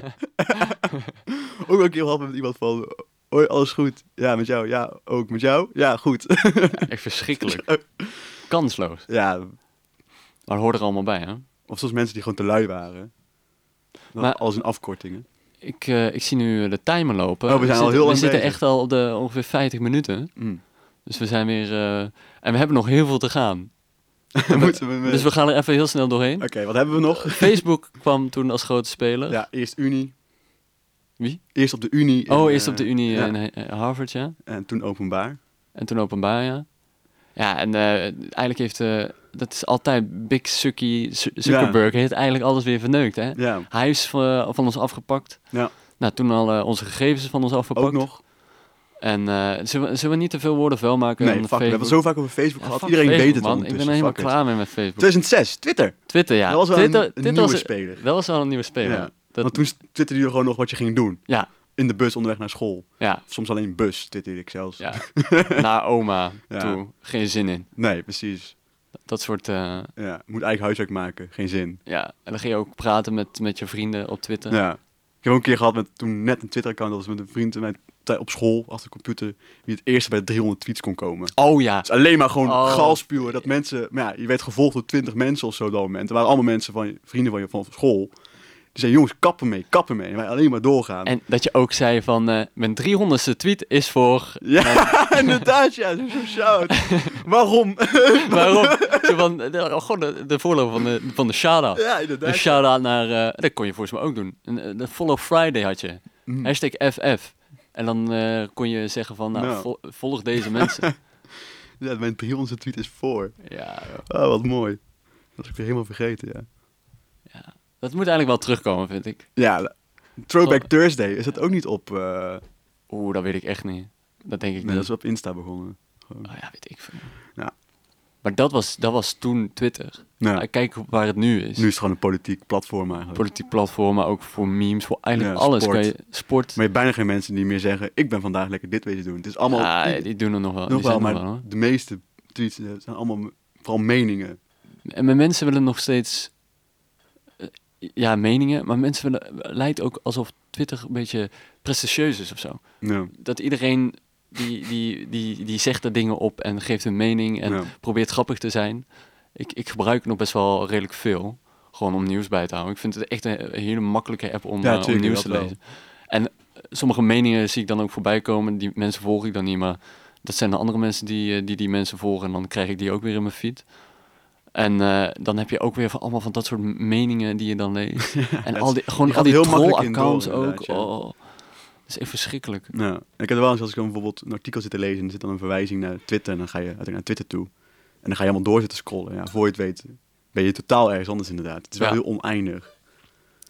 Ook wel een keer gehad met iemand van... Hoi, alles goed? Ja, met jou? Ja, ook. Met jou? Ja, goed. Echt verschrikkelijk. Kansloos. ja, Maar hoort er allemaal bij, hè? of zoals mensen die gewoon te lui waren. Dat Maar- alles in afkortingen. Ik, eh, ik zie nu eh, de timer lopen. Oh, we zijn al zitten, heel We lang zitten bezig. echt al op de ongeveer 50 minuten. Mm. Dus we zijn weer... eh, en we hebben nog heel veel te gaan. Moeten we met- Dus we gaan er even heel snel doorheen. Oké, wat hebben we nog? Facebook kwam toen als grote speler. Ja, eerst Unie. Wie? Eerst op de Unie. in, Oh, eerst eh, op de Unie ja. en eh, Harvard, ja. En toen openbaar. En toen openbaar, ja. Ja, en eh, eigenlijk heeft... eh, dat is altijd Big Sucky Zu- Zuckerberg. Heeft eigenlijk alles weer verneukt, hè? Ja, Hij is van, van ons afgepakt. Ja. Nou, toen al eh, onze gegevens van ons afgepakt. ook nog. En eh, zullen, we, zullen we niet te veel woorden vuil maken? Nee, aan fuck, we hebben het zo Facebook? vaak over Facebook Ja, gehad. fuck Iedereen Facebook, weet het man. Ik ben ondertussen. er helemaal fuck it. klaar mee met Facebook. 2006, Twitter. Twitter, ja. dat was wel Twitter, een, een Twitter nieuwe was, speler. dat was wel een nieuwe speler. Ja. Dat- Want toen twitterde je gewoon nog wat je ging doen. ja, In de bus onderweg naar school. ja. Soms alleen bus twitterde ik zelfs. ja. Naar oma Ja. toe. Geen zin in. Nee, precies. Dat soort... eh, Ja, moet eigen huiswerk maken. Geen zin. ja, en dan ging je ook praten met, met je vrienden op Twitter. Ja. Ik heb ook een keer gehad met toen net een Twitter-account was met een vriend en mij t- op school achter de computer wie het eerste bij de 300 tweets kon komen. Oh ja. Het is alleen maar gewoon Oh. gal spuwen dat mensen, maar ja, je werd gevolgd door 20 mensen of zo op dat moment. Er waren allemaal mensen van je- vrienden van je van school. Die zeiden jongens kappen mee, kappen mee. En wij alleen maar doorgaan. En dat je ook zei van, eh, mijn 300ste tweet is voor... Ja, inderdaad, ja, zo zo shout. Waarom? Waarom? Zo van, eh, de, oh, god, de, de voorloper van de, van de shout-out. Ja, De inderdaad. shout-out naar... eh, dat kon je volgens mij ook doen. Een, eh, De Follow Friday had je. Mm. Hashtag FF. En dan eh, kon je zeggen van, nou, Nou. vo- volg deze mensen. Ja, mijn 300 tweet is voor. ja, joh. Oh, wat mooi. Dat was ik weer helemaal vergeten, ja. dat moet eigenlijk wel terugkomen, vind ik. Ja, la- Oh. Throwback Thursday, is dat ook niet op... eh, Oeh, dat weet ik echt niet. Dat denk ik nee, dat niet. is op Insta begonnen. Oh, ja, weet ik veel. Ja. Maar dat was, dat was toen Twitter. Nou, Maar Kijk waar het nu is. nu is het gewoon een politiek platform eigenlijk. Politiek platform, maar ook voor memes, voor eigenlijk Ja, alles. sport. Kan je, sport. Maar je hebt bijna geen mensen die meer zeggen, ik ben vandaag lekker dit wezen doen. Het is allemaal... Ah, i- die doen er nog wel. nog die zijn wel, er maar nog wel, hoor. de meeste tweets eh, zijn allemaal m- vooral meningen. En maar mensen willen nog steeds... eh, Ja, meningen, maar mensen willen... Lijkt ook alsof Twitter een beetje prestigieus is of zo. Ja, Dat iedereen die, die, die, die zegt er dingen op en geeft hun mening en Ja. probeert grappig te zijn. Ik, ik gebruik het nog best wel redelijk veel. Gewoon om nieuws bij te houden. Ik vind het echt een, een hele makkelijke app om, Ja, eh, om tuurlijk, nieuws dat te wel. lezen. En eh, sommige meningen zie ik dan ook voorbij komen. Die mensen volg ik dan niet, maar dat zijn de andere mensen die eh, die, die mensen volgen. En dan krijg ik die ook weer in mijn feed. En eh, dan heb je ook weer van allemaal van dat soort meningen die je dan leest. en al die, gewoon gaat al die heel makkelijk in troll-accounts door, ook. inderdaad, ja. Oh. is echt verschrikkelijk. Ja. Ik heb er wel eens als ik dan bijvoorbeeld een artikel zit te lezen en er zit dan een verwijzing naar Twitter en dan ga je uiteindelijk naar Twitter toe. En dan ga je helemaal door zitten scrollen. Ja, voor je het weet ben je totaal ergens anders inderdaad. Het is wel Ja. heel oneindig.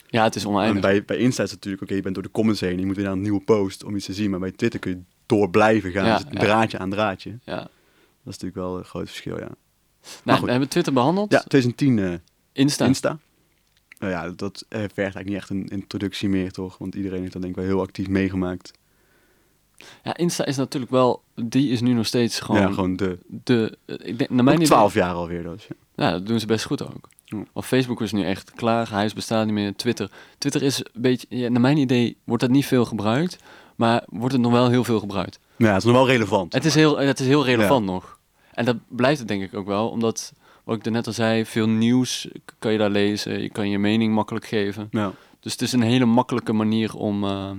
Ja, het is En oneindig. bij, bij Insta is het natuurlijk, oké, je bent door de comments heen, je moet weer naar een nieuwe post om iets te zien. Maar bij Twitter kun je door blijven gaan. Ja, dus het ja. draadje aan draadje. Ja. Dat is natuurlijk wel een groot verschil, ja. Nou, goed. we hebben Twitter behandeld. Ja, 2010 eh, Insta. Insta. Nou ja, dat eh, vergt eigenlijk niet echt een introductie meer, toch? Want iedereen heeft dat denk ik wel heel actief meegemaakt. Ja, Insta is natuurlijk wel... Die is nu nog steeds gewoon... ja, gewoon de... De, ik denk, naar Ook mijn idee- 12 jaar alweer, dus. Ja. Ja, dat doen ze best goed ook. Ja. Want Facebook is nu echt klaar, huis bestaat niet meer. Twitter, Twitter is een beetje, ja, naar mijn idee wordt dat niet veel gebruikt, maar wordt het nog wel heel veel gebruikt. Nou ja, het is nog wel relevant. Het is heel, het is heel relevant nog. En dat blijft het denk ik ook wel, omdat, wat ik net al zei, veel nieuws k- kan je daar lezen, je kan je mening makkelijk geven. Ja. Dus het is een hele makkelijke manier om, eh,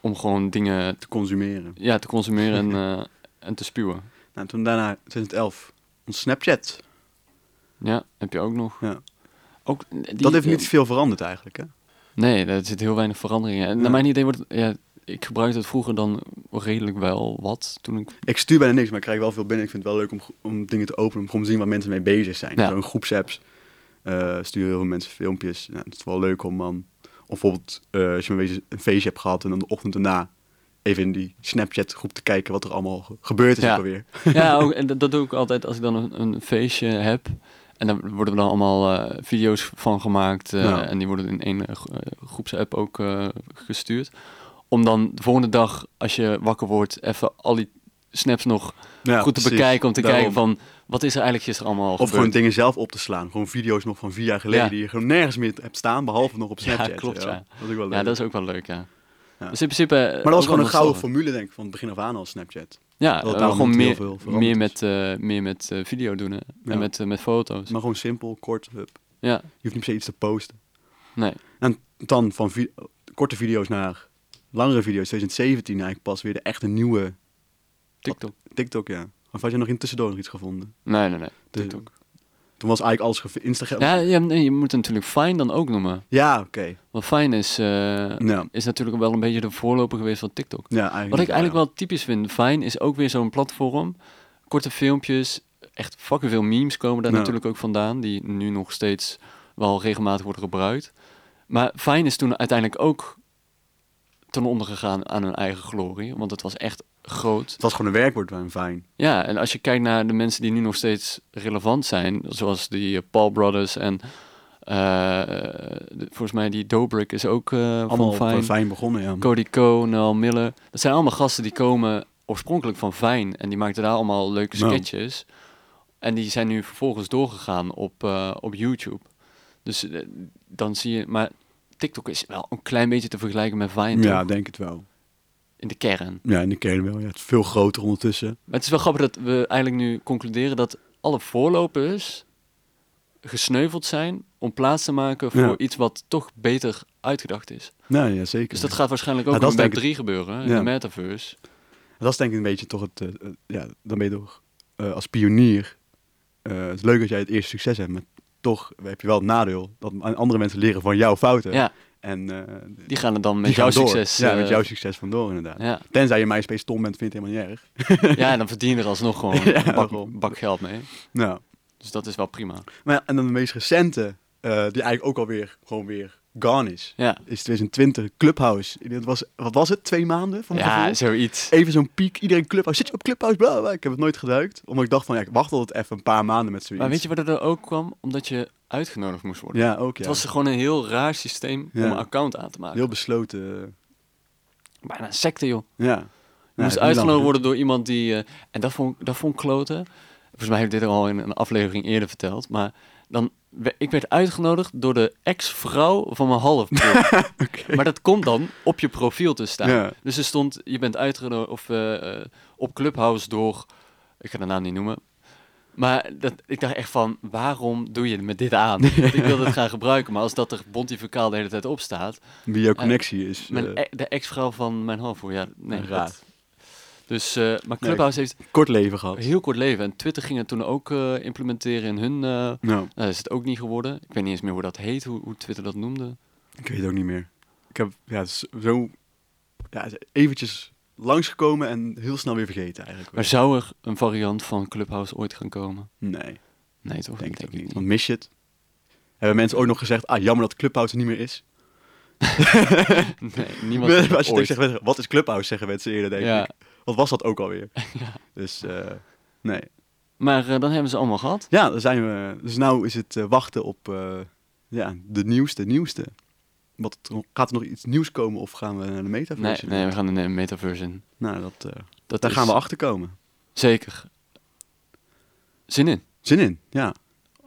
om gewoon dingen te consumeren. ja, te consumeren en, eh, en te spuwen. Nou, toen daarna, 2011, ons Snapchat. Ja, heb je ook nog. Ja. Ook, eh, die- dat heeft niet veel veranderd eigenlijk, hè? Nee, er zit heel weinig verandering in. En Ja. naar mijn idee wordt het- ja, ik gebruikte het vroeger dan redelijk wel wat. Toen ik, Ik stuur bijna niks, maar ik krijg wel veel binnen. Ik vind het wel leuk om, gro- om dingen te openen, om gewoon te zien waar mensen mee bezig zijn. Ja. Zo'n groepsapps eh, sturen heel veel mensen filmpjes. Nou, het is wel leuk om dan... Of bijvoorbeeld, eh, als je een, een feestje hebt gehad en dan de ochtend daarna... even in die Snapchat-groep te kijken wat er allemaal ge- gebeurd is Ja. ook alweer. ja, ook, en dat, dat doe ik altijd als ik dan een, een feestje heb. En daar worden dan allemaal eh, video's van gemaakt. eh, Ja. En die worden in één eh, gro- eh, groepsapp ook eh, gestuurd. Om dan de volgende dag, als je wakker wordt, even al die snaps nog Ja, goed te precies. bekijken. Om te Daarom. kijken van, wat is er eigenlijk gisteren allemaal Of gewoon gebeurd? dingen zelf op te slaan. Gewoon video's nog van vier jaar geleden Ja. die je gewoon nergens meer hebt staan, behalve nog op Snapchat. klopt, ja. Dat is ook wel leuk. ja, dat is ook wel leuk, ja. Ja. Dus in principe... Maar dat was gewoon een gouden formule, denk ik, van het begin af aan al Snapchat. Ja, Dat het eh, daarom gewoon niet heel meer, veel veranderd meer is. met, eh, meer met eh, video doen hè. Ja. en met, eh, met foto's. Maar gewoon simpel, kort, hup. Ja, Je hoeft niet per se iets te posten. nee. En dan van vi- korte video's naar langere video's, 2017 eigenlijk pas weer de echte nieuwe TikTok. TikTok, ja. Of had je nog in tussendoor nog iets gevonden? Nee, nee, nee. De- TikTok. Toen was eigenlijk alles ge- Instagram. Ja, Ja, ja, nee, je moet het natuurlijk Fine dan ook noemen. oké. Want Fine is, eh, Ja. is natuurlijk wel een beetje de voorloper geweest van TikTok. Ja, eigenlijk Wat ik eigenlijk wel typisch vind, Vine is ook weer zo'n platform. Korte filmpjes, echt fucking veel memes komen daar Ja. natuurlijk ook vandaan, die nu nog steeds wel regelmatig worden gebruikt. Maar Vine is toen uiteindelijk ook ten onder gegaan aan hun eigen glorie, want het was echt groot. Het was gewoon een werkwoord bij een fijn. Ja, en als je kijkt naar de mensen die nu nog steeds relevant zijn, zoals die eh, Paul Brothers en eh, de- volgens mij die Dobrik is ook eh, Allemaal Mhm. van fijn. Vine. fijn begonnen, ja. Cody Co, Noel Miller. Dat zijn allemaal gasten die komen oorspronkelijk van Vine. En die maakten daar allemaal leuke Nou. sketches. En die zijn nu vervolgens doorgegaan op, eh, op YouTube. Dus eh, dan zie je... Maar TikTok is wel een klein beetje te vergelijken met Vine. Ja, toch? denk het wel. In de kern. Ja, in de kern wel. Ja, het is veel groter ondertussen. Maar het is wel grappig dat we eigenlijk nu concluderen dat alle voorlopers gesneuveld zijn om plaats te maken voor Ja. iets wat toch beter uitgedacht is. Nou ja, zeker. Dus dat gaat waarschijnlijk ook Ja, dat in is Web denk 3 gebeuren, in Ja. de metaverse. Dat is denk ik een beetje toch het... eh, eh, ja, dan ben je toch eh, als pionier... eh, het is leuk dat jij het eerste succes hebt, maar toch heb je wel het nadeel dat andere mensen leren van jouw fouten. Ja, En eh, die gaan er dan met die jouw gaan door. succes. Ja, eh, met jouw succes vandoor inderdaad. ja. Tenzij je MySpace stom bent, vind je het helemaal niet erg. ja, en dan verdien je er alsnog gewoon Ja, een bak, daarom. bak geld mee. Nou, Dus dat is wel prima. maar ja, en dan de meest recente, eh, die eigenlijk ook alweer gewoon weer gone is, Ja, is 2020 Clubhouse. Dat was, wat was het, twee maanden van mijn ja gevoel? zoiets. Even zo'n piek, iedereen Clubhouse, zit je op Clubhouse, bla, bla, bla. Ik heb het nooit geduikt, omdat ik dacht van, ja, ik wacht altijd even een paar maanden met zoiets. Maar weet je wat er ook kwam? Omdat je uitgenodigd moest worden. Ja, ook ja. Het was gewoon een heel raar systeem Ja. om een account aan te maken. Heel besloten, eh, Bijna een secte, joh. ja. Nou, Je moest het is niet lang uitgenodigd worden door iemand die... eh, en dat vond, dat vond ik kloten. Volgens mij heb ik dit al in een aflevering eerder verteld. Maar dan, we- ik werd uitgenodigd door de ex-vrouw van mijn halfbroer. Oké. Maar dat komt dan op je profiel te staan. Ja. Dus er stond, je bent uitgenodigd of, eh, eh, op Clubhouse door... Ik ga de naam niet noemen. Maar dat, ik dacht echt van, waarom doe je me dit aan? Want ik wilde het gaan gebruiken, maar als dat er bontificaal de hele tijd op staat... Wie jouw connectie is. Mijn, eh, e- de ex-vrouw van mijn halfbroer, ja, nee, raar. raar. Dus, eh, maar Clubhouse heeft kort leven gehad. een heel kort leven. En Twitter ging het toen ook eh, implementeren in hun... eh, nou, Nou, dat is het ook niet geworden. Ik weet niet eens meer hoe dat heet, hoe, hoe Twitter dat noemde. ik weet het ook niet meer. Ik heb, ja, het is zo ja, eventjes langsgekomen en heel snel weer vergeten eigenlijk. Maar zou er een variant van Clubhouse ooit gaan komen? Nee, Nee, toch? denk ik Dat ook niet. Want mis je het? Hebben mensen ooit nog gezegd, ah jammer dat Clubhouse er niet meer is? Nee, niemand. als je het ooit. zegt, mensen, wat is Clubhouse, zeggen mensen eerder denk ja. ik. Wat was dat ook alweer? Dus eh, nee. Maar eh, dan hebben ze allemaal gehad. Ja, dan zijn we. Dus nu is het eh, wachten op eh, ja, de nieuwste, nieuwste. Wat, gaat er nog iets nieuws komen of gaan we naar de Nee, metaverse? nee, we gaan een metaverse in. Nou, dat, eh, Dat daar is- gaan we achter komen. Zeker. Zin in. Zin in, ja.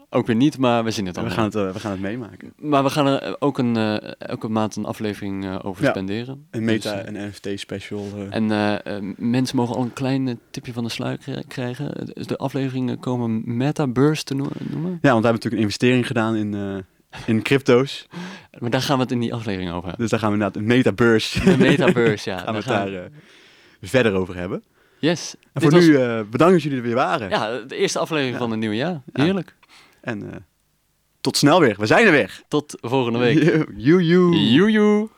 Ook weer niet, maar we zien het we, allemaal. gaan het, eh, we gaan het meemaken. Maar we gaan er eh, ook een, eh, elke maand een aflevering eh, over Ja. spenderen. Een meta- Dus, eh, en NFT special. eh, en eh, eh, mensen mogen al een klein eh, tipje van de sluier kri- krijgen. Dus de afleveringen komen metaverse te no- noemen. Ja, want we hebben natuurlijk een investering gedaan in, eh, in crypto's. Maar daar gaan we het in die aflevering over hebben. Dus daar gaan we inderdaad een metaverse. De metaverse, ja. gaan we het Daar daar gaan we- eh, verder over hebben. Yes. En Dit voor was- nu eh, bedankt dat jullie er weer waren. Ja, de eerste aflevering Ja. van het nieuwe jaar. Ja. Heerlijk. En eh, tot snel weer. We zijn er weer. Tot volgende week. Joe, joe. Joejoe.